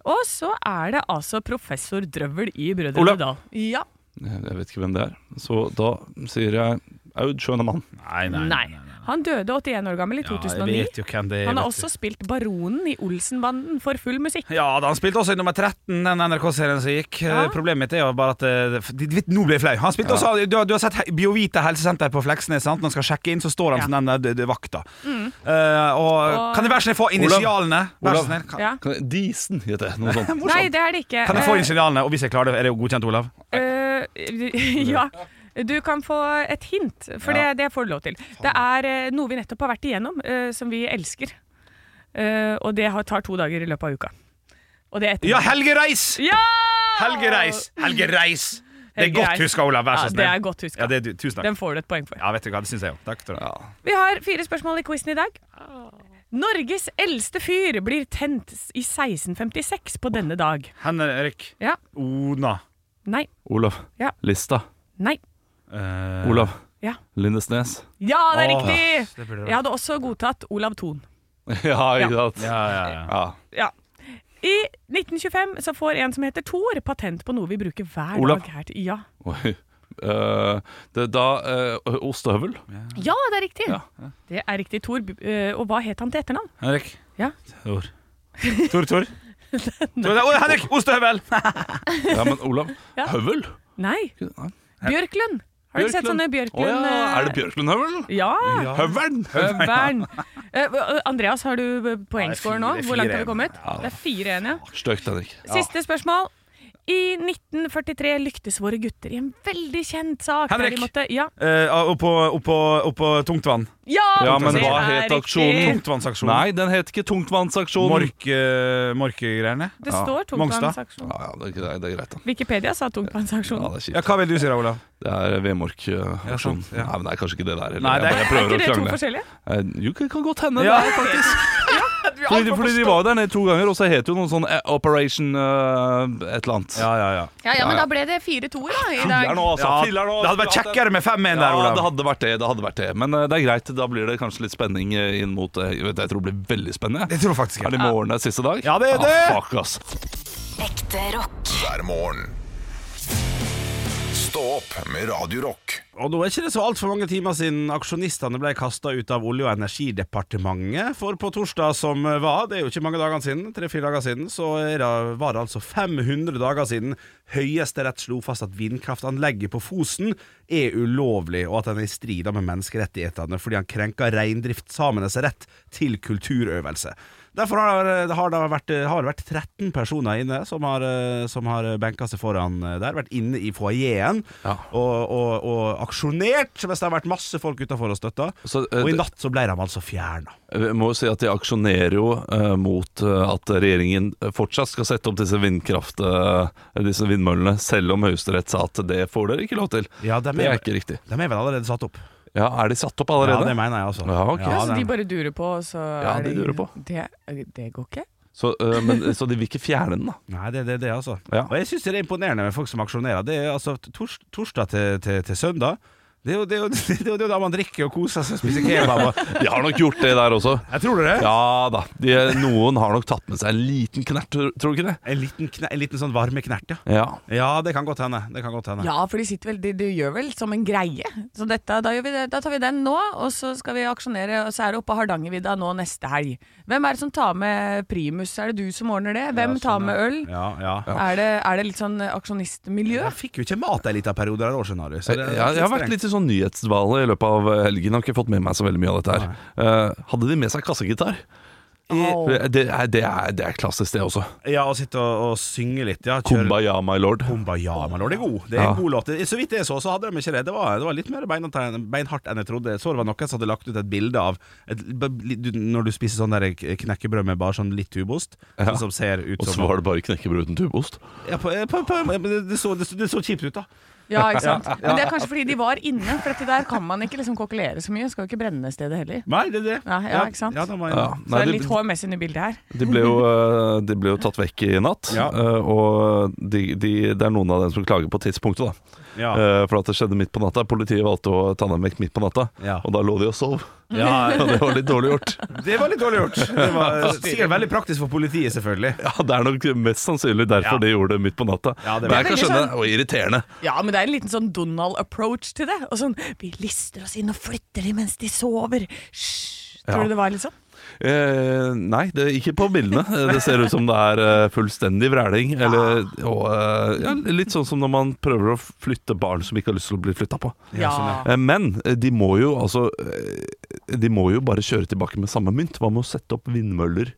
A: Og så er det altså professor Drøvel i Brødrene
C: Olav.
A: Dal. Ja.
C: Jeg vet ikke hvem det er. Så da sier jeg Aud Schønemann.
B: Nei, nei, nei.
A: Nei. Han døde 81 år gammel i
B: Ja, jeg
A: 2009.
B: vet jo hvem det er.
A: han har
B: vet du.
A: også spilt Baronen i Olsenbanden for full musikk.
B: Ja, da han spilte også i nummer 13, den NRK-serien som gikk. Eh, Problemet mitt er jo bare at eh, det- det- Nå blir jeg flau. Han spilte også, du, har- du har sett He- Biovita helsesenter på Fleksnes. Sant? Når han skal sjekke inn, så står han
A: Ja. Mm.
B: som den der d- d- vakta. Eh, og,
A: Og-
B: Kan jeg være så snill få initialene? Vær så
C: Olav.
B: snill. Kan,
A: Ja.
C: Kan det- Disen heter det. Noe sånt.
A: Nei, det er det ikke.
B: kan jeg få
A: Eh,
B: initialene? Og hvis jeg klarer det, er det jo godkjent, Olav?
A: Eh, ja. Du kan få et hint, for det, det får du lov til. Det er eh, noe vi nettopp har vært igjennom, eh, som vi elsker. Eh, og det har, tar to dager i løpet av uka. Og det er etter
B: Ja, Helge Reis!
A: Ja!
B: Helge Reis! Helge Reis! Det er
A: Helge
B: godt
A: Reis.
B: huska, Olav. Vær
A: Ja,
B: så
A: det
B: snill.
A: er godt huska.
B: Ja, det er du. Tusen takk.
A: Den får du et poeng for.
B: Ja, vet du hva, det syns jeg jo. Takk. Tror jeg.
A: Vi har fire spørsmål i quizen i dag. Norges eldste fyr blir tent i 1656 på denne dag.
B: Henrik.
A: Ja.
B: Ona.
A: Nei.
C: Olav.
A: Ja.
C: Lista.
A: Nei.
B: Eh,
C: Olav.
A: Ja.
C: Lindesnes.
A: Ja, det er
B: Åh,
A: riktig!
B: det burde det vært.
A: Jeg hadde også godtatt Olav Thon.
C: Ja, ikke sant?
B: Ja, ja, ja.
C: Ja.
A: Ja. I 1925 så får en som heter Thor, patent på noe vi bruker hver
C: Olav.
A: dag her. til- Ja.
C: Oi. Eh, det, er da eh, ostehøvel.
A: ja, det er riktig. Det er riktig, Thor. Eh, Og hva het han til etternavn?
B: Henrik.
A: Ja.
B: Tor. Tor, Tor. Tor Å, Henrik! Ostehøvel!
C: Ja, men Olav
A: Ja.
C: Høvel?
A: Nei,
C: Nei.
A: Bjørklund. Har du ikke sett sånne Bjørklund?
C: Å ja.
A: eh,
C: Er det Bjørklundhøvel?
A: Ja,
C: Høvelen!
A: Bern. Eh, Andreas, har du eh, poengscore
B: fire-
A: nå? Hvor langt har
B: fire-
A: vi kommet? Det er fire igjen, ja.
C: Støkt, Henrik.
A: Siste spørsmål. I 1943 lyktes våre gutter i en veldig kjent sak. der
B: Henrik.
A: De måtte, ja,
B: Eh, oppå, oppå, oppå tungtvann.
A: ja,
C: Ja, men
A: det
C: hva
A: er
C: het
A: riktig.
C: aksjonen?
B: Tungtvannsaksjon.
C: Nei, den het ikke tungtvannsaksjonen.
B: Mork, eh, morkegreiene.
A: Det står
B: Mongstad.
A: tungtvannsaksjon.
C: Ja, ja, det, er ikke- det er- det er greit, da.
A: Wikipedia sa
C: Ja,
A: tungtvannsaksjon.
C: det er
B: Ja,
C: kjipt.
B: hva vil du si da, Olav?
C: Det er
B: Ja,
C: Vemork-aksjonen.
B: sant, ja.
C: Nei, men det er kanskje ikke det der heller.
B: Nei, det er-
A: Er
C: jeg bare
A: ikke
C: jeg
A: det
C: prøver
A: to
C: å krangle.
A: forskjellige?
C: Eh, Jo, det kan godt hende.
B: Ja.
C: det er faktisk. Fordi, fordi de var jo der nede to ganger, og så het jo noe sånn eh, Operation eh, et eller annet. altså.
B: Ja, ja, ja.
A: Ja, ja, men da ble det fire toer da, i
B: Ja,
A: dag.
B: det hadde vært kjekkere med 5-1 der,
C: Ja, det
B: Olav.
C: hadde vært det. det hadde vært det Men eh, det er greit, da blir det kanskje litt spenning eh, inn mot eh, Jeg, vet, jeg tror det blir veldig spennende.
B: Det tror jeg faktisk
C: Er
B: ikke.
C: det i morgen det er siste dag?
B: Ja, det er det.
C: Ah, fuck, ass.
F: Ekte rock.
D: hver morgen. Stå opp med Radio Rock.
B: Og nå er ikke det så altfor mange timer siden aksjonistene ble kasta ut av Olje- og energidepartementet. For på torsdag som var, det er jo ikke mange dagene siden, tre-fire dager siden, så er det, var det altså 500 dager siden Høyesterett slo fast at vindkraftanlegget på Fosen er ulovlig, og at den er i strid med menneskerettighetene fordi han krenker reindriftssamenes rett til kulturøvelse. Derfor har det, har, det vært, har det vært 13 personer inne som har, eh, som har benka seg foran eh, der. Vært inne i foajeen og, og, og aksjonert, mens det har vært masse folk utafor og støtta.
C: Så, eh,
B: Og i
C: det-
B: natt så ble de altså fjerna.
C: Vi må jo si at de aksjonerer jo eh, mot eh, at regjeringen fortsatt skal sette opp disse vindkraft eh, Disse vindmøllene, selv om Høyesterett sa at det får dere ikke lov til.
B: Ja, dem
C: det
B: er-
C: er ikke riktig.
B: De er vel allerede satt opp?
C: Ja, Er de satt opp
B: Ja,
C: allerede?
B: det mener jeg, altså.
C: Ja, ok.
A: Ja, så
B: dem-
A: de bare durer på, og så
C: Ja,
A: er
C: de
A: det-
C: durer på.
A: Det, det går ikke.
C: så, eh, men, så de vil ikke fjerne den, da?
B: Nei, det er det, det, altså.
C: Ja.
B: Og jeg syns det er imponerende med folk som aksjonerer. Det er altså tors torsdag til, til, til søndag. Det er jo- det er jo det er jo- det er jo da man drikker og koser seg og spiser kebab og
C: De har nok gjort det der også.
B: Jeg tror det.
C: Ja da. De, noen har nok tatt med seg en liten knert, tror tror du ikke det?
B: En liten, kne, en liten sånn varmeknert, ja.
C: Ja.
B: Ja, det kan godt hende. Det kan godt hende.
A: Ja, for de sitter vel, de, de gjør vel som en greie. Så dette, da, gjør vi det, da tar vi den nå, og så skal vi aksjonere, og så er det oppe på Hardangervidda nå neste helg. Hvem er det som tar med primus? Er det du som ordner det? Hvem tar med øl?
B: Ja, ja.
A: Er, det, er det litt sånn aksjonistmiljø?
B: Jeg fikk jo ikke mat en liten periode her år, skjønner du. Så
C: Jeg,
B: det,
C: Eh, jeg, har vært litt i sånn nyhetsdvale i løpet av eh, helgen. Har ikke fått med meg så veldig mye av dette her. Eh, hadde de med seg kassegitar?
A: Au.
C: Det, er, det, er, det er klassisk, det også.
B: Ja, å sitte og, og synge litt. Ja, kjøre-
C: Kumbaya, my lord.
B: Kumbaya, my lord. Det er god. Det er
C: Ja.
B: en god låt. Så vidt jeg så, så hadde de ikke det. Det var, det var litt mer bein- beinhardt enn jeg trodde. Jeg så det var noen som hadde lagt ut et bilde av et, du- når du spiser sånn der knekkebrød med bare sånn litt tubost,
C: Ja.
B: sånn som ser ut
C: Og så
B: som
C: var det bare knekkebrød uten tubeost.
B: ja, på, eh, på, på, men det, det, så, det, så- det så kjipt ut, da.
A: Ja, ikke sant? Men det er kanskje fordi de var inne, for dette der kan man ikke liksom kokkelere så mye. Skal jo ikke brenne stedet heller.
B: Nei, det er det.
A: Ja, ja, ikke sant?
B: Ja, det var,
C: Ja,
A: Så
C: nei,
A: det er
C: de,
A: litt HMS inni bildet her.
C: de, ble jo, eh, de ble jo tatt vekk i natt,
B: Ja.
C: eh, og de, de, det er noen av dem som klager på tidspunktet, da.
B: ja.
C: Eh, For at det skjedde midt på natta. Politiet valgte å ta dem vekk midt på natta,
B: Ja.
C: og da lå de og sov.
B: Ja,
C: Og det var litt dårlig gjort.
B: Det var litt dårlig gjort. Det var eh, sikkert veldig praktisk for politiet, selvfølgelig.
C: Ja, Det er nok mest sannsynlig derfor
B: Ja.
C: de gjorde det midt på natta.
B: Ja, det
C: Men
B: var-
C: jeg kan
A: Det er
C: skjønne
A: veldig
C: det er irriterende.
A: Ja, men det er en liten sånn Donald-approach til det. Og sånn, vi lister oss inn og flytter de mens de sover. Hysj. Tror
C: Ja.
A: du det var litt sånn?
C: Eh, nei, det, ikke på bildene. Eh, Det ser ut som det er eh, fullstendig vræling. Eller, og, eh, ja, litt sånn som når man prøver å flytte barn som ikke har lyst til å bli flytta på.
A: Ja.
C: Eh, men eh, de må jo altså eh, De må jo bare kjøre tilbake med samme mynt. Hva med å sette opp vindmøller?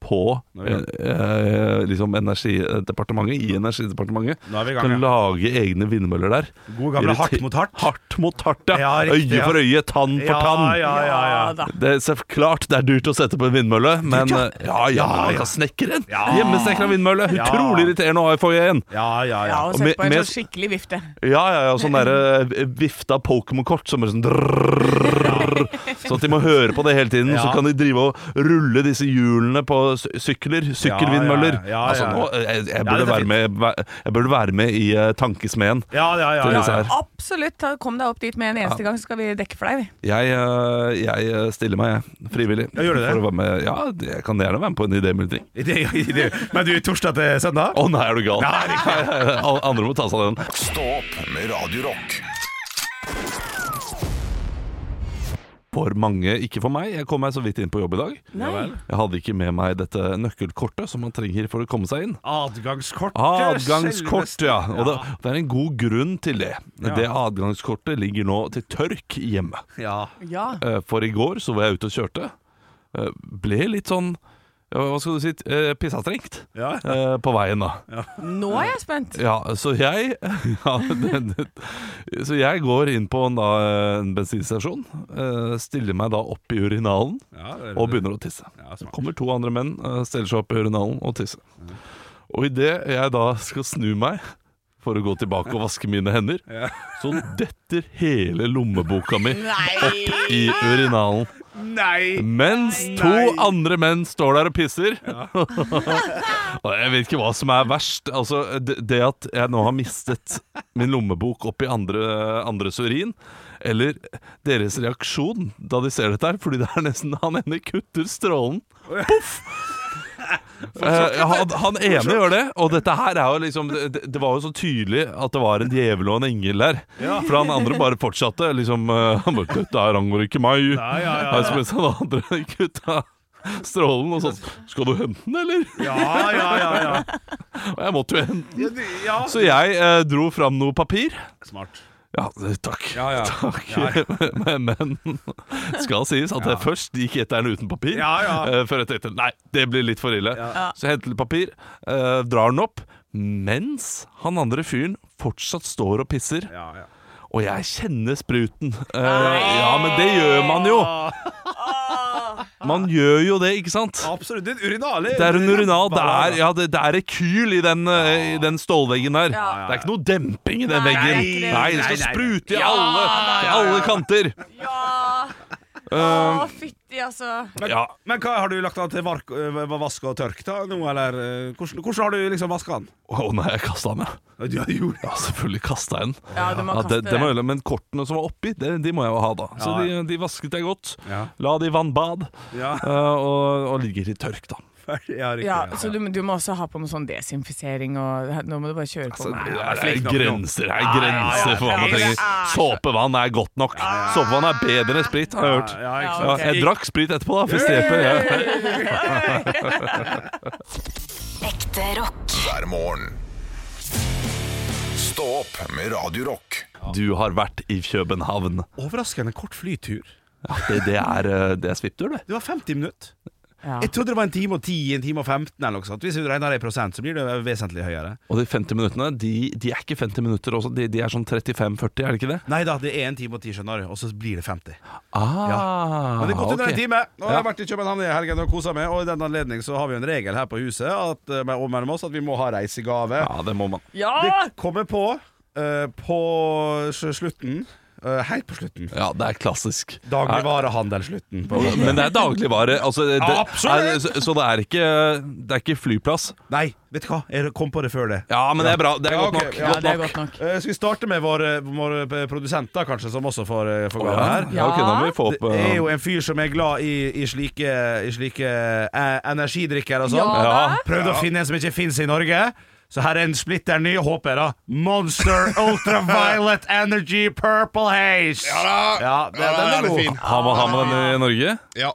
C: På eh, eh, liksom energidepartementet, i Energidepartementet.
B: Nå er vi i gang,
C: Kan
B: ja.
C: lage egne vindmøller der.
B: God gamle
C: Irriter-
B: hardt mot hardt.
C: Hardt mot hardt, ja.
B: Ja, riktig,
C: øye
B: ja.
C: for øye, tann for tann.
B: ja, ja, ja.
A: da.
C: Det er så klart det er dyrt å sette på en vindmølle, men eh, ja, ja, man kan snekre en.
B: Ja.
C: Hjemmesnekra vindmølle.
B: Ja.
C: Utrolig irriterende å ha i foajeen.
B: Ja, ja,
A: Ja,
B: ja.
A: og
C: Og
A: sett
C: med-
A: på en
C: med-
A: sånn skikkelig vifte.
C: Ja, ja, ja, sånn derre vifta Pokémon-kort som er sånn drrrr, Sånn at de må høre på det hele tiden.
B: Ja.
C: Så kan de drive og rulle disse hjulene på sy- sykler. Sykkelvindmøller.
B: Ja, ja, ja, ja,
C: Altså,
B: ja.
C: nå, jeg, jeg,
B: Ja,
C: burde
B: dette er
C: være med, jeg burde være med i eh, Tankesmeden.
B: Ja, ja, ja,
C: Til
B: ja,
C: disse
B: ja.
C: her.
A: Absolutt. ta- Kom deg opp dit med en eneste gang, så skal vi dekke for deg, vi.
C: Jeg, eh, jeg stiller meg, jeg. Frivillig.
B: Ja, gjør du det?
C: For å være med. Ja, jeg kan gjerne være med på en idémyldring.
B: I det, i det. Men du, torsdag til søndag?
C: Å nei, er du gal? Alle Andre må ta seg av den.
D: Stå opp med Radio Rock
C: For mange, ikke for meg. Jeg kom meg så vidt inn på jobb i dag. Jeg hadde ikke med meg dette nøkkelkortet som man trenger for å komme seg inn.
B: Adgangskortet.
C: Adgangskort,
B: selveste-
C: ja. Og det, det er en god grunn til det. Det adgangskortet ligger nå til tørk hjemme.
B: Ja.
A: Ja.
C: Eh, For i går så var jeg ute og kjørte. Eh, Ble litt sånn eh, hva skal du si, eh, pissa strengt
B: Ja, ja.
C: eh, på veien, da.
A: Nå er jeg spent.
C: Ja, så jeg ja, det, det, Så jeg går inn på en, da, en bensinstasjon, eh, stiller meg da opp i urinalen
B: Ja, det er-
C: og begynner å tisse.
B: Ja, smart.
C: Kommer to andre menn, eh, stiller seg opp i urinalen og tisser. Og idet jeg da skal snu meg for å gå tilbake og vaske mine hender, så detter hele lommeboka mi opp i urinalen.
B: Nei!
C: Mens to andre menn står der og pisser. og jeg vet ikke hva som er verst. Altså, det, det at jeg nå har mistet min lommebok oppi andre, andres urin, eller deres reaksjon da de ser dette her, fordi det er nesten han ene kutter strålen. Poff! Eh, han, han ene gjør det, og dette her er jo liksom det, det var jo så tydelig at det var en djevel og en engel der. For han andre bare fortsatte. Liksom, eh, han bare 'Dette her angår ikke meg'.
B: Ja, ja, ja.
C: Ja, så mens han andre kutta strålen og sånn Skal du hente den, eller?
B: Ja, ja, ja, ja.
C: Og jeg måtte jo hente den.
B: ja, du- ja.
C: Så jeg eh, dro fram noe papir.
B: Smart.
C: Ja, det- takk.
B: Ja, ja.
C: Takk.
B: Ja,
C: Men, men skal sies at jeg først gikk etter den uten papir.
B: Ja, ja.
C: eh, Før jeg tenkte nei, det blir litt for ille. Så jeg henter litt papir, eh, drar den opp, mens han andre fyren fortsatt står og pisser.
B: Ja, ja.
C: Og jeg kjenner spruten. Eh, ja, men det gjør man jo. Man gjør jo det, ikke sant?
B: Absolutt. Det er en urinale.
C: Det er en urinal. Det er, ja, det, det er rekyl i den, eh, i den stålveggen der. Det er ikke noe demping i den veggen.
A: det er ikke det.
C: Nei, det
B: Nei,
C: skal
B: nei, nei.
C: sprute i alle, i alle kanter.
A: Ja!
C: Um,
A: Å, fytti, altså.
B: Men,
C: Ja.
B: men hva har du lagt an til vark, øh, vask og tørk da nå, eller øh, hvordan, hvordan har du liksom vaska den?
C: Å nei, jeg kasta den, ja.
B: Ja, du gjorde det.
C: Ja, selvfølgelig kasta jeg den.
A: Ja, du må
C: Ja,
A: kaste
C: det, det må jeg gjøre, men kortene som var oppi, det, de må jeg jo ha, da. Så de,
B: Ja.
C: de vasket jeg godt.
B: Ja.
C: La de i vannbad.
B: Ja.
C: eh, og, og ligger i tørk, da.
B: Ja, riktig.
A: Ja,
B: ja.
A: så du, du må også ha på med sånn desinfisering og Nå må du bare kjøre på
C: Så
A: med
C: Altså, det
B: jeg er
C: er,
B: flink nok nå.
C: grenser her, grenser for hva
A: det
C: man
A: er
C: trenger. Såpevann er godt nok. Såpevann er bedre enn sprit, har jeg hørt.
B: Ja, ikke
C: Ja,
B: sant?
C: jeg drakk sprit etterpå, da. Først dreper jeg.
F: Ekte rock.
D: hver morgen. Stå opp med Radio Rock.
C: Du har vært i København.
B: Overraskende kort flytur.
C: Ja, det, det er, eh, det er svipptur, det.
B: Det var 50 minutter.
A: Ja.
B: Jeg trodde det var en time og 10, en time og 15 eller noe sånt. Hvis du regner det i prosent, så blir det vesentlig høyere.
C: Og de 50 minuttene, de, de er ikke 50 minutter også. De, de er sånn 35-40, er det ikke det?
B: Nei da, det er en time og 10, skjønner du, og så blir det 50.
C: Ah,
B: Men det er godt under
C: ok.
B: en time. Nå har
C: Ja.
B: jeg vært i København i helgen og kosa meg, og i den anledning så har vi jo en regel her på huset at, eh, og mellom oss at vi må ha reisegave.
C: Ja, det må man.
A: Ja!
B: Det kommer på eh, på s- slutten. eh, helt på slutten.
C: Ja, det er klassisk.
B: Dagligvarehandelslutten. på-
C: Men det er dagligvare. Altså, det,
B: Absolutt!
C: Er, så, så det er ikke Det er ikke flyplass.
B: Nei, vet du hva? Jeg kom på det før det.
C: Ja, men det er bra. Det er
B: Ja,
C: godt
B: ok,
C: nok.
B: ja.
A: Ja,
C: Godt
A: det er
C: nok.
A: godt nok.
B: Eh, skal vi starte med våre, våre produsenter, kanskje, som også får, eh, får
C: Å,
B: gave her?
C: Ja, ok, da må vi få opp
B: Det
C: eh,
B: er jo en fyr som er glad i, i slike, i slike eh, energidrikker og sånn.
A: Ja,
C: Ja.
B: Prøvde å finne en som ikke fins i Norge. Så her er en splitter ny, håper jeg, da. Monster Ultraviolet Energy Purple Haze. Ja da. det, den er, god.
D: fin.
C: Har man, har man den i Norge?
D: Ja.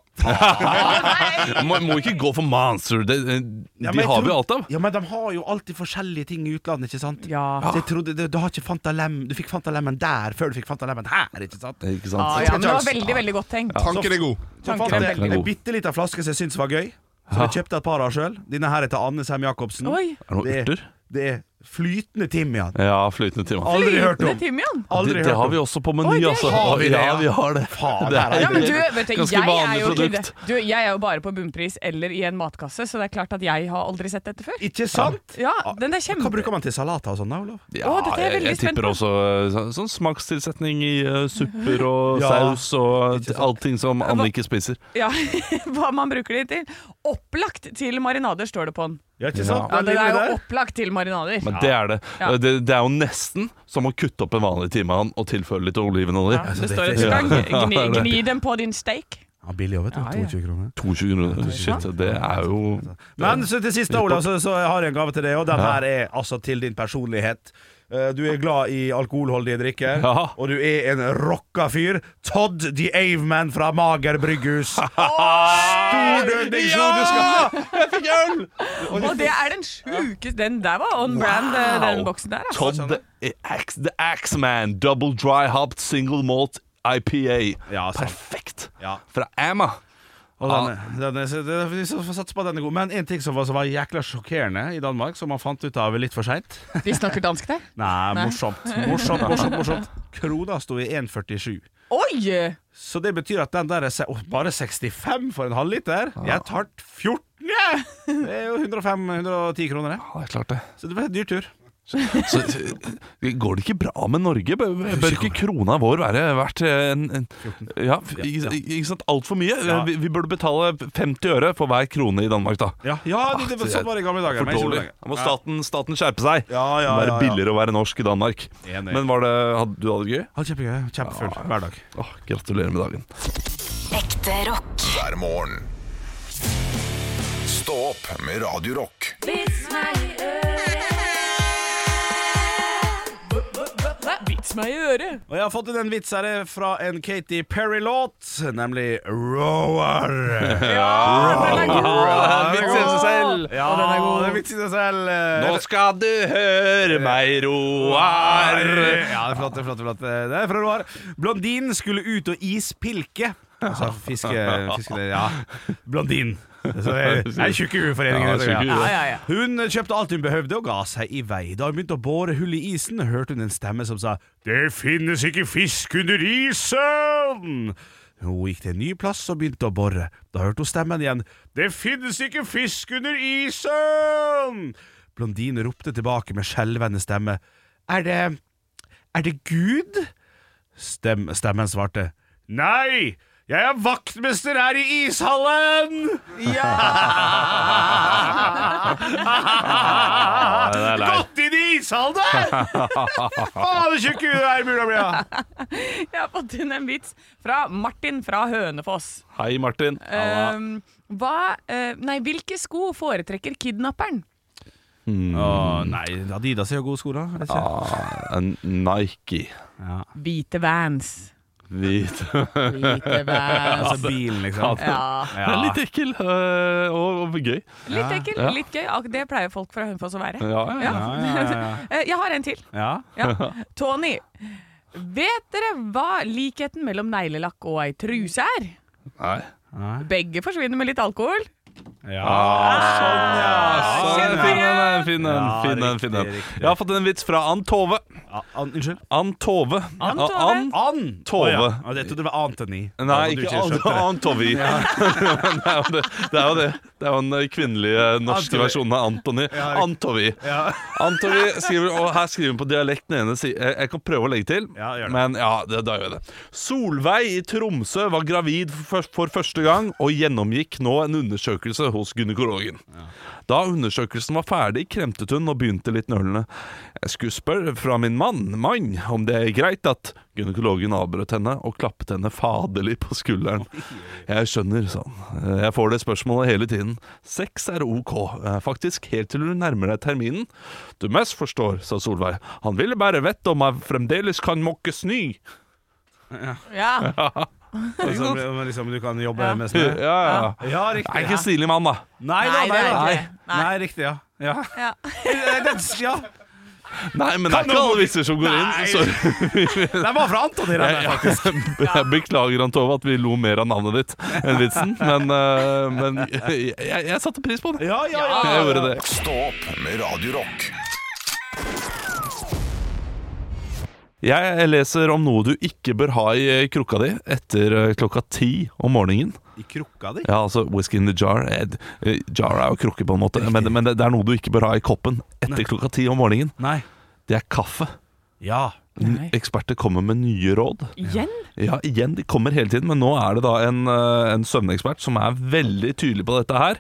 C: Må, må ikke gå for Monster. De, de
B: Ja, men jeg
C: har vi
B: tror-
C: alt av.
B: Ja, men de har jo alltid forskjellige ting i utlandet, ikke sant?
A: Ja.
B: Så jeg trodde, du, du har ikke Fanta Lem Du fikk Fanta Lemon der før du fikk Fanta Lemon her, ikke sant?
A: Ja,
C: Ikke sant?
A: ja, men det var veldig, veldig godt tenkt.
D: Tanken er god.
B: Så
A: Tanken
B: fant
A: er
B: jeg
C: veldig
B: en
C: god.
B: bitte liten flaske som jeg syntes var gøy. Så jeg kjøpte et par av sjøl. Denne her er til Anne Sem Jacobsen.
A: Oi.
C: Er det noen
B: Det-
C: urter?
B: Det er flytende timian.
C: Ja, flytende timer.
B: Aldri hørt
A: Flytende
B: om.
A: timian.
B: Aldri
C: Det,
B: hørt
C: det har
B: om.
C: vi også på meny,
A: Oi, det
C: altså.
B: har vi det,
C: ja,
B: ja.
C: vi har det.
B: Faen,
C: det
B: her er
A: Ja, men du,
C: et
A: vet du,
C: ganske
A: jeg er
C: vanlig
A: jo ikke det.
C: produkt.
A: Du, jeg er jo bare på bunnpris eller i en matkasse, så det er klart at jeg har aldri sett dette før.
B: Ikke sant?
A: Ja,
C: Ah,
A: den er
B: Hva bruker
A: kjempe...
B: man til salater og sånn, da, Olav?
C: Ja,
A: Å, dette er jeg
C: jeg, jeg
A: veldig spent
C: tipper
A: på.
C: også eh, så- sånn smakstilsetning i eh, supper og
B: Ja,
C: saus og
B: ikke sant.
C: allting som Anne ikke spiser.
A: Ja, hva man bruker det til. Opplagt til marinader, står det på den.
B: Ja, ikke sant?
A: Ja,
B: Den
A: den er
B: lille
A: jo
B: der.
A: opplagt til marinader.
C: Men det er det.
A: Ja.
C: det. Det er jo nesten som å kutte opp en vanlig timehan og tilføre litt olivenolje.
A: Ja,
C: Altså,
A: det
B: det
A: står
B: er
A: at du kan
C: fint.
A: gni,
C: Ja, det er
A: gni den på din steak.
B: Ja, billig òg, vet du.
A: Ja, ja.
B: 22 kroner.
C: 22 kroner. Shit, det er jo
B: Men så til sist, da, Olav, så, så har jeg en gave til deg, og den her er altså til din personlighet. Eh, Du er glad i alkoholholdige drikker,
C: Ja.
B: og du er en rocka fyr. Todd the Aveman fra Mager brygghus.
C: Ah,
B: Stor døgningsjon du skal ha!
A: Og det er den sjukeste Den der var on brand, eh, den boksen der. Altså.
C: Todd the Axe- The Axeman Double Dry Hopped Single Malt IPA.
B: Altså, Ja, sant.
C: Perfekt!
B: Ja.
C: Fra Amma.
B: Og denne, denne, så det- vi får satse på at den er god. Men en ting som var, som var jækla sjokkerende i Danmark, som man fant ut av litt for seint
A: De snakker dansk der?
B: Nei,
A: Nei.
B: morsomt. Morsomt, morsomt, morsomt. Krona sto i 1,47.
A: Oi!
B: Så det betyr at den der er se- Åh, bare 65 for en halvliter? Jeg tar 14, jeg! Det er jo 105-110 kroner, det.
C: Ja, det er klart det.
B: Så det ble en dyr tur.
C: Så, så- går det ikke bra med Norge? Bør, bør ikke krona vår være verdt eh, en, en Ja, ikke, ikke sant? Altfor mye.
B: Ja.
C: Vi, vi burde betale 50 øre for hver krone i Danmark, da. Ah,
B: Ja, ja det, det, var- sånn var det i gamle dager.
C: For
B: men ikke nå
C: dårlig.
B: lenger.
C: Da må staten, staten skjerpe seg.
B: Ja, ja,
C: det må
B: ja,
C: være
B: ja.
C: billigere å være norsk i Danmark.
B: Enig.
C: Men var det, hadde, du hadde det gøy?
B: Ja, Kjempegøy. Kjempefull hver dag.
C: Åh, gratulerer med dagen.
F: Ekte rock.
D: hver morgen. Stå opp med Radio Rock.
A: Vits meg i øret!
B: Og jeg har fått inn en vits her eh, fra en Katy Perry-låt, nemlig Roar. Ah,
C: Ah, Vits i seg selv.
B: Ja, den er god. Det er vits i seg selv.
C: Nå skal du høre meg, Roar.
B: Ja, det er flott, det er flott, det er flott. Det er fra Roar. Blondinen skulle ut og ispilke. Altså fiske... fiske det, ja. Blondin. Så det er- det er tjukke
C: Ja,
B: uforeningen.
C: det er tjukke u, det.
B: Ja,
A: ja, ja.
B: Hun kjøpte alt hun behøvde og ga seg i vei. Da hun begynte å bore hull i isen, hørte hun en stemme som sa Det finnes ikke fisk under isen! Hun gikk til en ny plass og begynte å bore. Da hørte hun stemmen igjen. Det finnes ikke fisk under isen! Blondinen ropte tilbake med skjelvende stemme. Er det Er det Gud? Stem, stemmen svarte. Nei! Jeg er vaktmester her i ishallen!
C: det er leit.
B: Gått inn i ishallen der! Faen, så tjukk hud er mulig å bli! ja.
A: Jeg har fått inn en vits fra Martin fra Hønefoss.
C: Hei, Martin.
A: Um, hva, eh, nei, hvilke sko foretrekker kidnapperen?
B: Å, nei, Adidas er jo gode sko, da. er det ikke?
C: Ah, en Nike.
A: Hvite vans.
C: Hvit.
A: Hvite vans.
B: Altså bilen, liksom.
A: Ja.
C: Ja. Litt ekkel øh, og, og gøy.
A: Litt ekkel, litt gøy. Ak- Det pleier folk fra Hønefoss å være.
C: Ja, ja, ja.
A: Eh, Jeg har en til.
B: Ja.
A: Ja. Tony, vet dere hva likheten mellom neglelakk og ei truse er?
C: Nei.
A: Begge forsvinner med litt alkohol.
C: Ah.
B: sånn, ja.
C: Så,
B: Sånn,
C: Finn
B: ja.
C: en, finn en,
B: Ja,
C: finn en.
B: riktig,
C: Finn en.
B: riktig.
C: Jeg har fått en vits fra Ann Tove.
B: Ah, an, unnskyld?
C: Ann Tove.
A: Ann
C: Ja,
A: Tove.
C: Ann-
B: Ann!
C: Tove.
B: Å, ja. Ja, Jeg trodde det var Antony.
C: Nei,
B: Du
C: ikke
B: skjønte
C: Ann- Ann Tove. Det er jo det. Det er jo det. Det er jo den kvinnelige norske
B: Antovi.
C: versjonen av Antony.
B: Ja.
C: Antovi.
B: det. Ja.
C: Antovi skriver, og her skriver hun på dialekten ene si- Jeg jeg kan prøve å legge til,
B: Ja, gjør det.
C: men ja, det, da gjør jeg det. Solveig i Tromsø var gravid for, for første gang og gjennomgikk nå en undersøkelse hos gynekologen. Da undersøkelsen var ferdig, kremtet hun og begynte litt nølende. Jeg skulle spørre fra min mann, mann, om det er greit at Gynekologen avbrøt henne og klappet henne faderlig på skulderen. Jeg skjønner, sa han. Jeg får det spørsmålet hele tiden. Sex er ok, eh, faktisk, helt til du nærmer deg terminen. Du mest forstår, sa Solveig. Han ville bare vite om jeg fremdeles kan mokke snø.
A: Ja.
B: Altså, men liksom, du kan jobbe
A: Ja.
B: med
C: Ja,
B: snø?
C: ja.
B: Ja, riktig.
C: Jeg er
B: ja.
C: ikke stilig mann, da.
B: Nei da,
A: Nei, det
B: nei,
A: er
B: da.
A: ikke
B: Nei.
A: det. Nei.
B: nei, riktig, ja. ja.
A: ja.
B: Den, ja.
C: Nei, men det er
B: Kan
C: ikke
B: du-
C: alle vitser som går
B: Nei.
C: inn. Sorry.
B: Den var fra Antony, den altså. der, faktisk.
C: Jeg beklager, Ann Tove, at vi lo mer av navnet ditt enn vitsen, men, eh, men jeg, jeg, jeg satte pris på det.
B: Ja, ja, ja.
C: Jeg gjorde det.
D: Stå opp med Radio Rock.
C: Jeg leser om noe du ikke bør ha i eh, krukka di etter eh, klokka ti om morgenen.
B: I krukka di?
C: Ja, altså whisky in the jar. eh, d- eh, Jar er jo krukke, på en måte. Men, men det, det er noe du ikke bør ha i koppen etter klokka ti om morgenen.
B: Nei.
C: Det er kaffe.
B: Ja.
C: N-
A: Nei.
C: Eksperter kommer med nye råd.
A: Igjen?
C: Ja, igjen, de kommer hele tiden, men nå er det da en, eh, en søvnekspert som er veldig tydelig på dette her.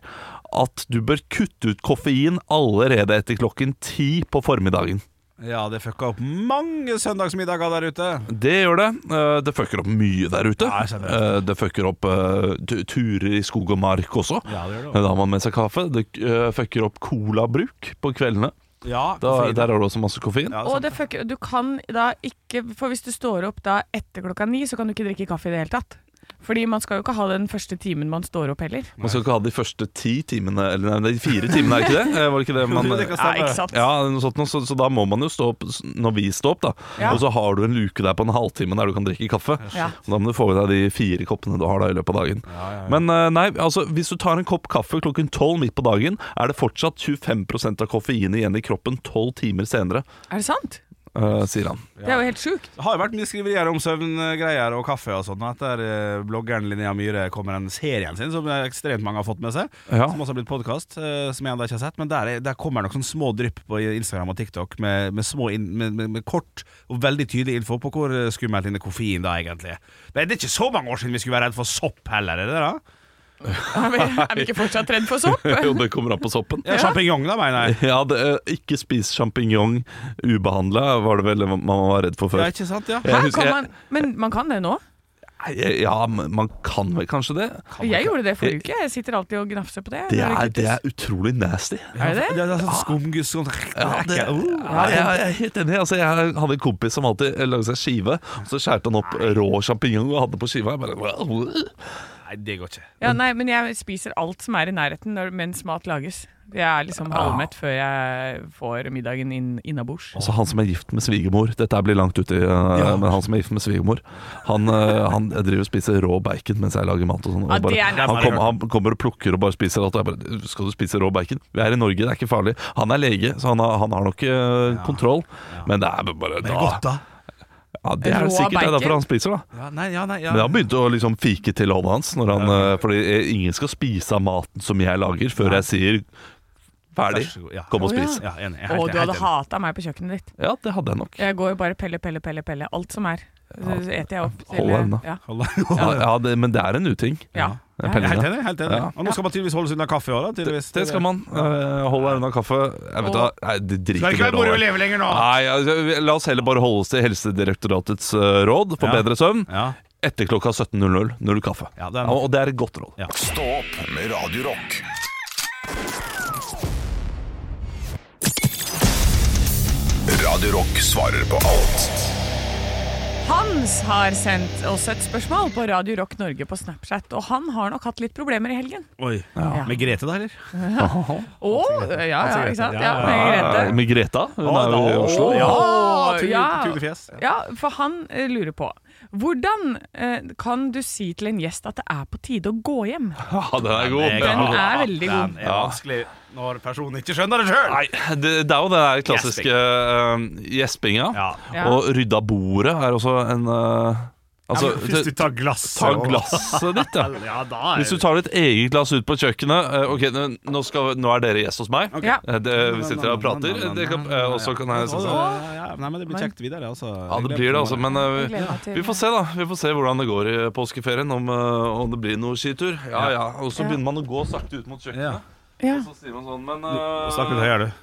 C: At du bør kutte ut koffein allerede etter klokken ti på formiddagen.
B: Ja, det fucka opp mange søndagsmiddager der ute.
C: Det gjør det. Eh, Det fucker opp mye der ute.
B: Ja, jeg skjønner.
C: Eh, det fucker opp eh, tu- turer i skog og mark også.
B: Ja, det gjør det også.
C: Da har man med seg kaffe. Det eh, fucker opp colabruk på kveldene.
B: Ja,
C: Da,
B: koffein.
C: der har du også masse koffein.
B: ja,
A: Og
B: sant.
A: det fucker, du kan da ikke For hvis du står opp da etter klokka ni, så kan du ikke drikke kaffe i det hele tatt. Fordi man skal jo ikke ha det den første timen man står opp heller.
C: Man skal ikke ha de første ti timene Eller nei, de fire timene, er ikke det? Eh, Var det ikke det man
B: Jo, det kan
A: Ja,
B: stemme.
A: ikke sant?
C: ja, noe sånt, noe, så, så da må man jo stå opp s- når vi står opp, da.
A: Ja.
C: Og så har du en luke der på en halvtime der du kan drikke kaffe.
A: Ja.
C: Og Da må du få i deg de fire koppene du har da i løpet av dagen. Men eh, nei, altså hvis du tar en kopp kaffe klokken tolv midt på dagen, er det fortsatt 25 av koffein igjen i kroppen tolv timer senere,
A: Er det sant?
C: eh, sier han.
A: Det er jo helt sjukt.
B: Det har jo vært mye skriverier om søvngreier og kaffe og sånn. Etter eh, bloggeren Linnea Myhre kom med den serien sin, som ekstremt mange har fått med seg.
C: Ja.
B: Som også har blitt podkast, som jeg ennå ikke har sett. Men der, er- der kommer det nok sånne små drypp på Instagram og TikTok med, med, små inn- med, med, med kort og veldig tydelig info på hvor skummelt inne koffein da egentlig er. Men det er ikke så mange år siden vi skulle være redd for sopp heller, er det da?
A: Er vi, er vi ikke fortsatt redd for sopp?
C: jo, det kommer an på soppen.
B: Ja, Sjampinjong, da, mener jeg.
C: Ja, det, eh, ikke spis sjampinjong ubehandla, var det vel man var redd for før.
B: Ja, ikke sant? Ja.
C: Jeg
A: Hæ?
C: husker-
A: Kan man, men man kan det nå?
C: Nei, Ja, men man kan vel kanskje det?
A: Jeg gjorde det forrige uke. Jeg sitter alltid og gnafser på det.
C: Det
A: når
C: er,
A: det
C: det
A: kuttes.
C: er utrolig nasty.
A: Er det det?
B: Det er sånn skumgus sånn
C: Ja, det,
B: Uh.
C: ja, jeg, jeg er helt enig. Altså, jeg hadde en kompis som alltid eh, lagde seg skive. og Så skjærte han opp eh, rå sjampinjong og hadde på skiva. Jeg bare, wow.
B: Nei, det går ikke.
A: Ja, nei, men jeg spiser alt som er i nærheten når, mens mat lages. Jeg er liksom halvmett før jeg får middagen inn, innabords.
C: Altså, han som er gift med svigermor Dette her blir langt uti, eh, men han som er gift med svigermor, han, eh, han driver og spiser rå bacon mens jeg lager mat. og sånn og
A: Ja, det
C: bare,
A: er
C: han,
A: nasty.
C: kom, han kommer og plukker og bare spiser alt. og Jeg bare, skal du spise rå bacon? Vi er i Norge, det er ikke farlig. Han er lege, så han har, han har nok eh, kontroll. Men det er bare
B: Det er godt, da.
C: Ja, det er
A: Rå
C: det sikkert det er
A: bacon?
C: derfor han spiser, da.
B: Ja, nei, ja, nei, ja.
C: Men han begynte å liksom fike til hånda hans. Når han, eh, Fordi eh, ingen skal spise av maten som jeg lager, før jeg sier ferdig.
B: Vær så god, ja.
C: Kom og
A: Å, ja.
C: spis.
B: Ja, enig. Jeg er
A: Å,
B: helt enig,
A: du hadde
B: helt enig.
A: hata meg på kjøkkenet ditt.
C: Ja, det hadde jeg nok.
A: Jeg går jo bare pelle, pelle, pelle, pelle. Alt som er. Så så eter jeg opp. til-
C: Hold deg unna.
A: Ja.
C: Ja, ja, det, men det er en uting.
A: ja.
C: Jeg
B: Jeg er
C: peller
B: Helt
C: det.
B: enig. helt enig
C: Ja.
B: Og nå skal man tydeligvis holde seg unna kaffe òg, da.
C: Det,
B: Tydeligvis.
C: det skal man. Eh, Hold deg unna kaffe. Jeg vet da, nei, det driter
B: Skal det ikke
C: dere
B: være moro
C: over.
B: å leve lenger nå?
C: Nei, altså, La oss heller bare holde oss til Helsedirektoratets eh, råd for
B: Ja.
C: bedre søvn.
B: Ja.
C: Etter klokka 17.00 null kaffe.
B: Ja, det er nok.
C: og det er et godt råd.
D: Stå opp med Radio Rock. Radio Rock svarer på alt.
A: Hans har sendt oss et spørsmål på Radio Rock Norge på Snapchat, og han har nok hatt litt problemer i helgen.
B: Oi.
A: Ja.
B: Med Grete, da, eller?
A: Å, ja, ja, ikke sant? Ja,
C: Eh,
A: Grete.
C: Med Greta. Hun er jo i Oslo.
B: Ja!
A: Å,
B: Tugel-
A: ja.
B: Tuglefjes.
A: Ja, for han eh, lurer på Hvordan eh, kan du si til en gjest at det er på tide å gå hjem?
C: Ja, den er god.
B: Den
A: Den er veldig god.
B: Den er vanskelig når personen ikke skjønner det sjøl.
C: Nei, det, det er jo den der klassiske eh, gjespinga.
B: Ja.
A: Ja.
C: Og rydda bordet er også en eh, Altså,
B: Hvis du
C: det-
B: tar glasset
C: ta
B: og-
C: glasset ditt, ja.
B: Ja, da er
C: Hvis du tar ditt eget glass ut på kjøkkenet eh, Ok, n- nå, skal, nå er dere gjest hos meg.
A: Ja.
C: Eh, Det, vi sitter her og prater, det kan, eh, og så kan jeg
B: Ja,
C: sånn sånn.
B: ja, ja. Nei, men det blir kjekt videre, altså.
C: Ja, det blir det, altså. Men eh,
A: Jeg gleder meg til-
C: vi får se, da. Vi får se hvordan det går i påskeferien. Om, eh, om det blir noe skitur. Ja, ja. Og så
A: Ja.
C: begynner man å gå sakte ut
B: Ja.
C: mot kjøkkenet.
A: Ja.
C: Så sier man sånn, men eh,
B: Snakk litt høyere, du.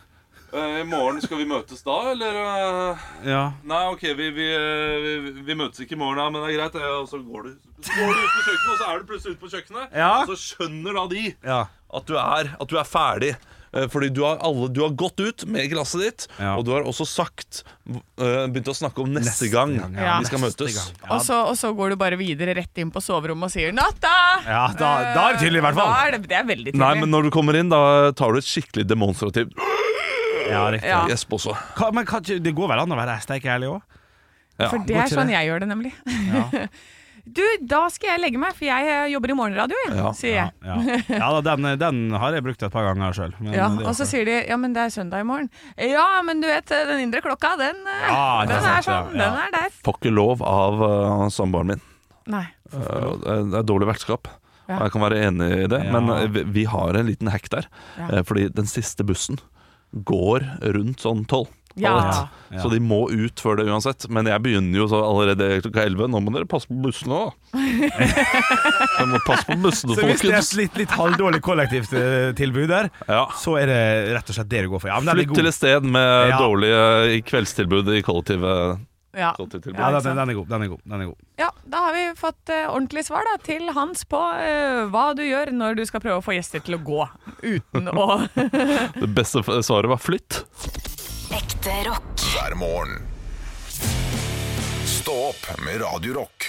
C: Eh, I morgen skal vi møtes da, eller? eh,
B: Ja.
C: Nei, OK, vi, vi, eh, vi, vi møtes ikke i morgen, da, men det er greit. eh, Og så går du, så går du ut på kjøkkenet, og så er du plutselig ute på kjøkkenet.
B: Ja.
C: Og så skjønner da de
B: ja.
C: at du er, at du er ferdig. Eh, Fordi du har, alle, du har gått ut med glasset ditt,
B: Ja.
C: og du har også sagt eh, Begynt å snakke om neste, gang
A: ja.
C: vi skal
B: Neste
C: møtes.
B: gang.
A: Og så, og så går du bare videre rett inn på soverommet og sier 'natta'!
B: Ja, da, da er det tydelig, i hvert fall.
A: Da er det, det er veldig tidlig.
C: Nei, men når du kommer inn, da tar du et skikkelig demonstrativt
B: Ja, riktig.
A: ja,
C: gjesp også.
B: Hva, men kan, ikke- det går vel an å være steik ærlig òg?
C: Ja.
A: for det
B: går
A: er
B: ikke
A: sånn
B: det?
A: jeg gjør det, nemlig. Du, da skal jeg legge meg, for jeg eh, jobber i morgenradio, jeg,
C: Ja,
A: sier jeg.
B: Ja, ja da, den, den har jeg brukt et par ganger sjøl.
A: Ja, og så sier de 'ja, men det er søndag i morgen'. Ja, men du vet, eh, den indre klokka, den, eh,
B: Ja, ikke
A: den er
B: sant, ja,
A: sånn.
B: ja.
A: Den er der.
C: Får ikke lov av eh, samboeren min.
A: Nei.
C: Eh, Det er- det er dårlig vertskap.
A: Ja.
C: Og jeg kan være enig i det,
B: Ja.
C: men eh, vi- vi har en liten hack der.
A: Ja.
C: Eh, Fordi den siste bussen går rundt sånn tolv.
A: Ja.
B: Ja.
C: Så de må ut før det uansett. Men jeg begynner jo så allerede klokka elleve. Nå må dere passe på bussene òg. Dere må passe på bussene,
B: Så hvis det er
C: folkens.
B: et litt, litt halvdårlig kollektivt eh, tilbud der,
C: Ja.
B: så er det rett og slett det du går for. Ja, men den er
C: Flytt til
B: god.
C: et sted med
B: Ja.
C: dårlig eh, kveldstilbud i kollektivet.
A: Ja.
C: kollektivtilbud.
B: Ja, den, den er god. Den er god, den er god.
A: ja, da har vi fått eh, ordentlig svar da, til Hans på eh, hva du gjør når du skal prøve å få gjester til å gå uten å
C: Det beste f- svaret var flytt.
F: Ekte rock.
D: hver morgen. Stå Stå opp med Radio Rock.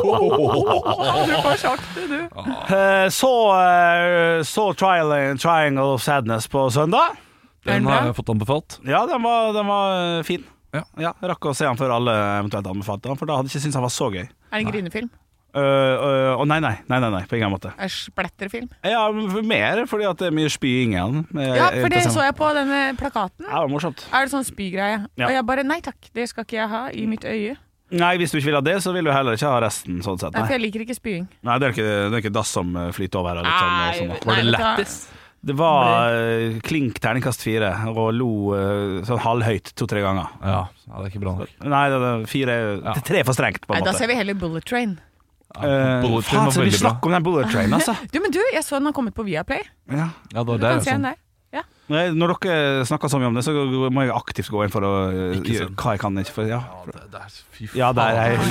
A: Du får sjokk, du, du.
B: Eh, Så, eh, så Trial- Triangle of Sadness på søndag.
A: Er den
C: Den
A: bra?
C: har jeg fått anbefalt.
B: Ja, den var, den var eh, fin.
C: Ja.
B: Rakk å se han før alle eventuelt anbefalte han, for da hadde jeg ikke syntes han var så gøy.
A: Er det en grinefilm?
B: Øh, øh, Å nei, nei, nei, nei, nei, på ingen måte.
A: Er det splatterfilm?
B: Ja, men mer fordi at det er mye spying i han.
A: Ja, for det så jeg på denne plakaten.
B: Ja, det var morsomt.
A: Er det sånn spygreie?
B: Ja.
A: Og jeg bare nei takk, det skal ikke jeg ha i mitt øye.
B: Nei, hvis du ikke vil ha det, så vil du heller ikke ha resten, sånn sett.
A: Nei, for
B: Nei,
A: jeg liker ikke spying.
B: nei det, er ikke, det er ikke dass som eh, flyter over her. og Litt sånn, og sånn, da.
A: Nei, vet du hva?
B: det var eh, klink terningkast fire, og lo eh, sånn halvhøyt to-tre ganger.
C: Ja, ja, det er ikke bra nok.
B: Nei, det, det, fire, det er tre er for strengt, på
A: Nei,
B: en
A: da ser
B: måte.
A: vi heller Bullet Train.
B: Eh,
C: Bullet Train
B: faen,
C: var
B: så vi
C: veldig bra.
B: snakker om den bullet train, altså.
A: Du, men du, jeg så den har kommet på Viaplay.
B: ja.
C: Ja, det
A: Du
C: var
A: kan
C: der,
A: se den
C: sånn.
A: der. Ja.
B: Nei, Når dere snakker så mye om det, så må jeg aktivt gå inn for å eh,
C: Ikke
B: gjøre
C: sant.
B: hva jeg kan ikke. For, ja.
C: Ja, det- det er- Fy
B: ja, der er
C: faen,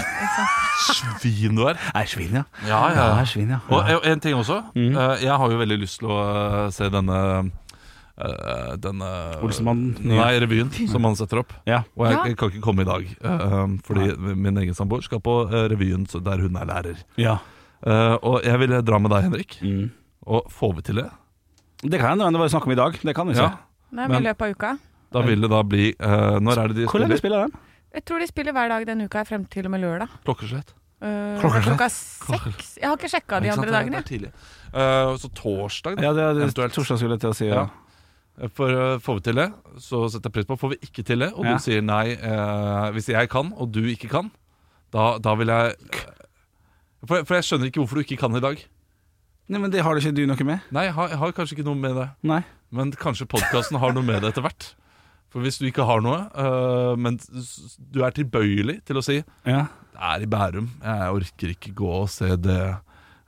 B: jeg.
C: svin du er.
B: Jeg er svin, ja.
C: Ja, ja,
B: Jeg
C: ja.
B: er svin, ja. Mm.
C: Og en- en ting også. Eh, Jeg har jo veldig lyst til å eh, se denne eh, denne
B: Olsenmannen, nye.
C: Nei, revyen som han setter opp.
B: Ja.
C: Og jeg,
A: Ja.
C: jeg kan ikke komme i dag, eh, fordi min egen samboer skal på eh, revyen så der hun er lærer.
B: ja.
C: Eh, og jeg ville dra med deg, Henrik.
B: Mm.
C: Og får vi til det?
B: Det kan hende, det var snakk om i dag. Det kan vi se.
C: Ja.
A: Nei, men
C: Men-
A: I løpet av uka.
C: Da vil det da bli eh, Når er det de
B: Hvor lenge spiller
C: spiller?
B: den?
A: Jeg tror de spiller hver dag denne uka her frem til og med lørdag.
C: Klokkeslett.
A: Eh,
C: Klokka
A: klokka seks. Jeg har ikke sjekka de
C: Ikke
A: andre
C: sant? Det er-
A: dagene.
C: det er tidlig. Eh, så torsdag, da.
B: Ja, det, det,
C: Eventuelt.
B: torsdag skulle jeg til å si. Ja.
C: Ja. For, eh, får vi til det, så setter jeg pris på. Får vi ikke til det, og
B: Ja.
C: du sier nei eh, hvis jeg kan, og du ikke kan, da, da vil jeg eh, for, for jeg skjønner ikke hvorfor du ikke kan i dag.
B: Nei, men Det har ikke du noe med?
C: Nei, jeg har, jeg har kanskje ikke noe med det.
B: Nei.
C: Men kanskje podkasten har noe med det etter hvert. For hvis du ikke har noe, øh, men s- du er tilbøyelig til å si Det
B: Ja.
C: er i Bærum, jeg orker ikke gå og se det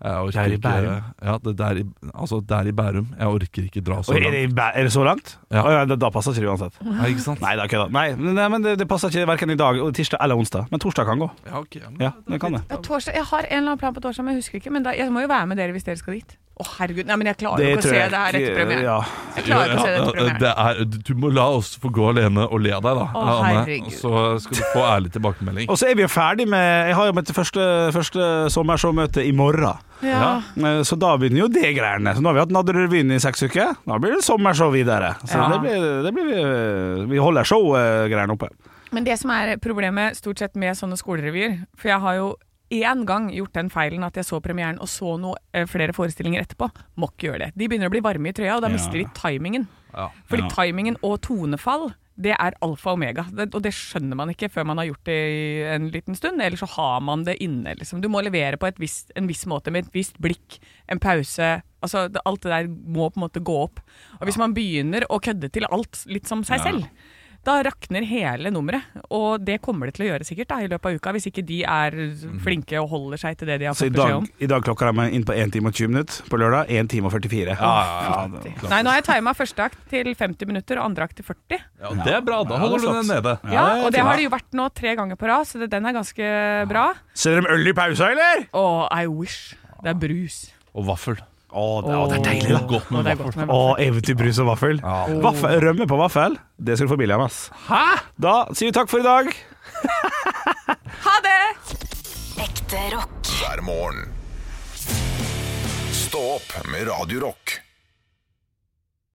C: jeg orker
B: Det er i
C: ikke-
B: Bærum?
C: Ja, det er i, altså, det er i Bærum. Jeg orker ikke dra så
B: Og er, det,
C: langt.
B: i bæ- er det så langt?
C: Ja.
B: Å, ja, da, da passer ikke det uansett.
C: Ja, ikke sant?
B: Nei, det er ikke det. Nei, men- nei, men det, det passer ikke verken i dag, tirsdag eller onsdag. Men torsdag kan gå.
C: Ja, ok, ja, men
B: Ja, det kan det.
A: Ja, torsdag, jeg har en eller annen plan på torsdag, men jeg husker ikke. Men da, jeg må jo være med dere hvis dere skal dit. Å, herregud. Nei, men jeg klarer ikke å se det her etter premieren.
B: Ja.
A: Jeg klarer ikke å se det
C: Ja,
A: etter premieren.
C: det er, du må la oss få gå alene og le av deg, da.
A: Å,
C: Anne.
A: herregud.
C: Så skal du få ærlig tilbakemelding.
B: Og så er vi jo ferdig med Jeg har jo mitt første, første sommersåmøte i morgen.
A: Ja.
B: Eh, Så da begynner jo det greiene. Så nå har vi hatt Nadderud-revyen i seks uker. Da blir det sommershow videre. Så
A: Ja.
B: det blir, det blir vi, vi holder show-greiene oppe.
A: Men det som er problemet stort sett med sånne skolerevyer For jeg har jo én gang gjort den feilen at jeg så premieren og så noe, eh, flere forestillinger etterpå. Må ikke gjøre det. De begynner å bli varme i trøya, og da mister de timingen.
C: Ja.
A: Fordi timingen og tonefall det er alfa og omega, det, og det skjønner man ikke før man har gjort det i en liten stund. Eller så har man det inne. Liksom. Du må levere på et visst, en viss måte, med et visst blikk, en pause. Altså, det, alt det der må på en måte gå opp. Og hvis man begynner å kødde til alt litt som seg selv, da rakner hele nummeret. Og det kommer det til å gjøre sikkert da, i løpet av uka, hvis ikke de er flinke og holder seg til det de har
B: Mhm. Så i
A: fått beskjed
B: dag,
A: om.
B: i dag klokker jeg meg inn på 1 time og 20 minutter. På lørdag 1 time og 44.
A: Nei, nå har jeg tima første akt til 50 minutter og andre akt til 40.
C: Ja, det er bra. Da holder du den nede.
A: Ja, og det har det jo vært nå tre ganger på rad, så det, den er ganske bra.
B: Ser dere øl i pausa, eller?
A: Og I wish. Det er brus.
C: Og vaffel.
B: Å, det, å, det er deilig, da.
C: Godt
A: Og
C: med
A: det er godt med
B: Å,
A: vaffel.
B: eventyrbrus og vaffel. vaffel. Rømme på vaffel, det skal du få billig av, ass. Hæ? Da sier vi takk for i dag.
A: Ha det!
F: Ekte rock.
D: hver morgen. Stå opp med Radio Rock.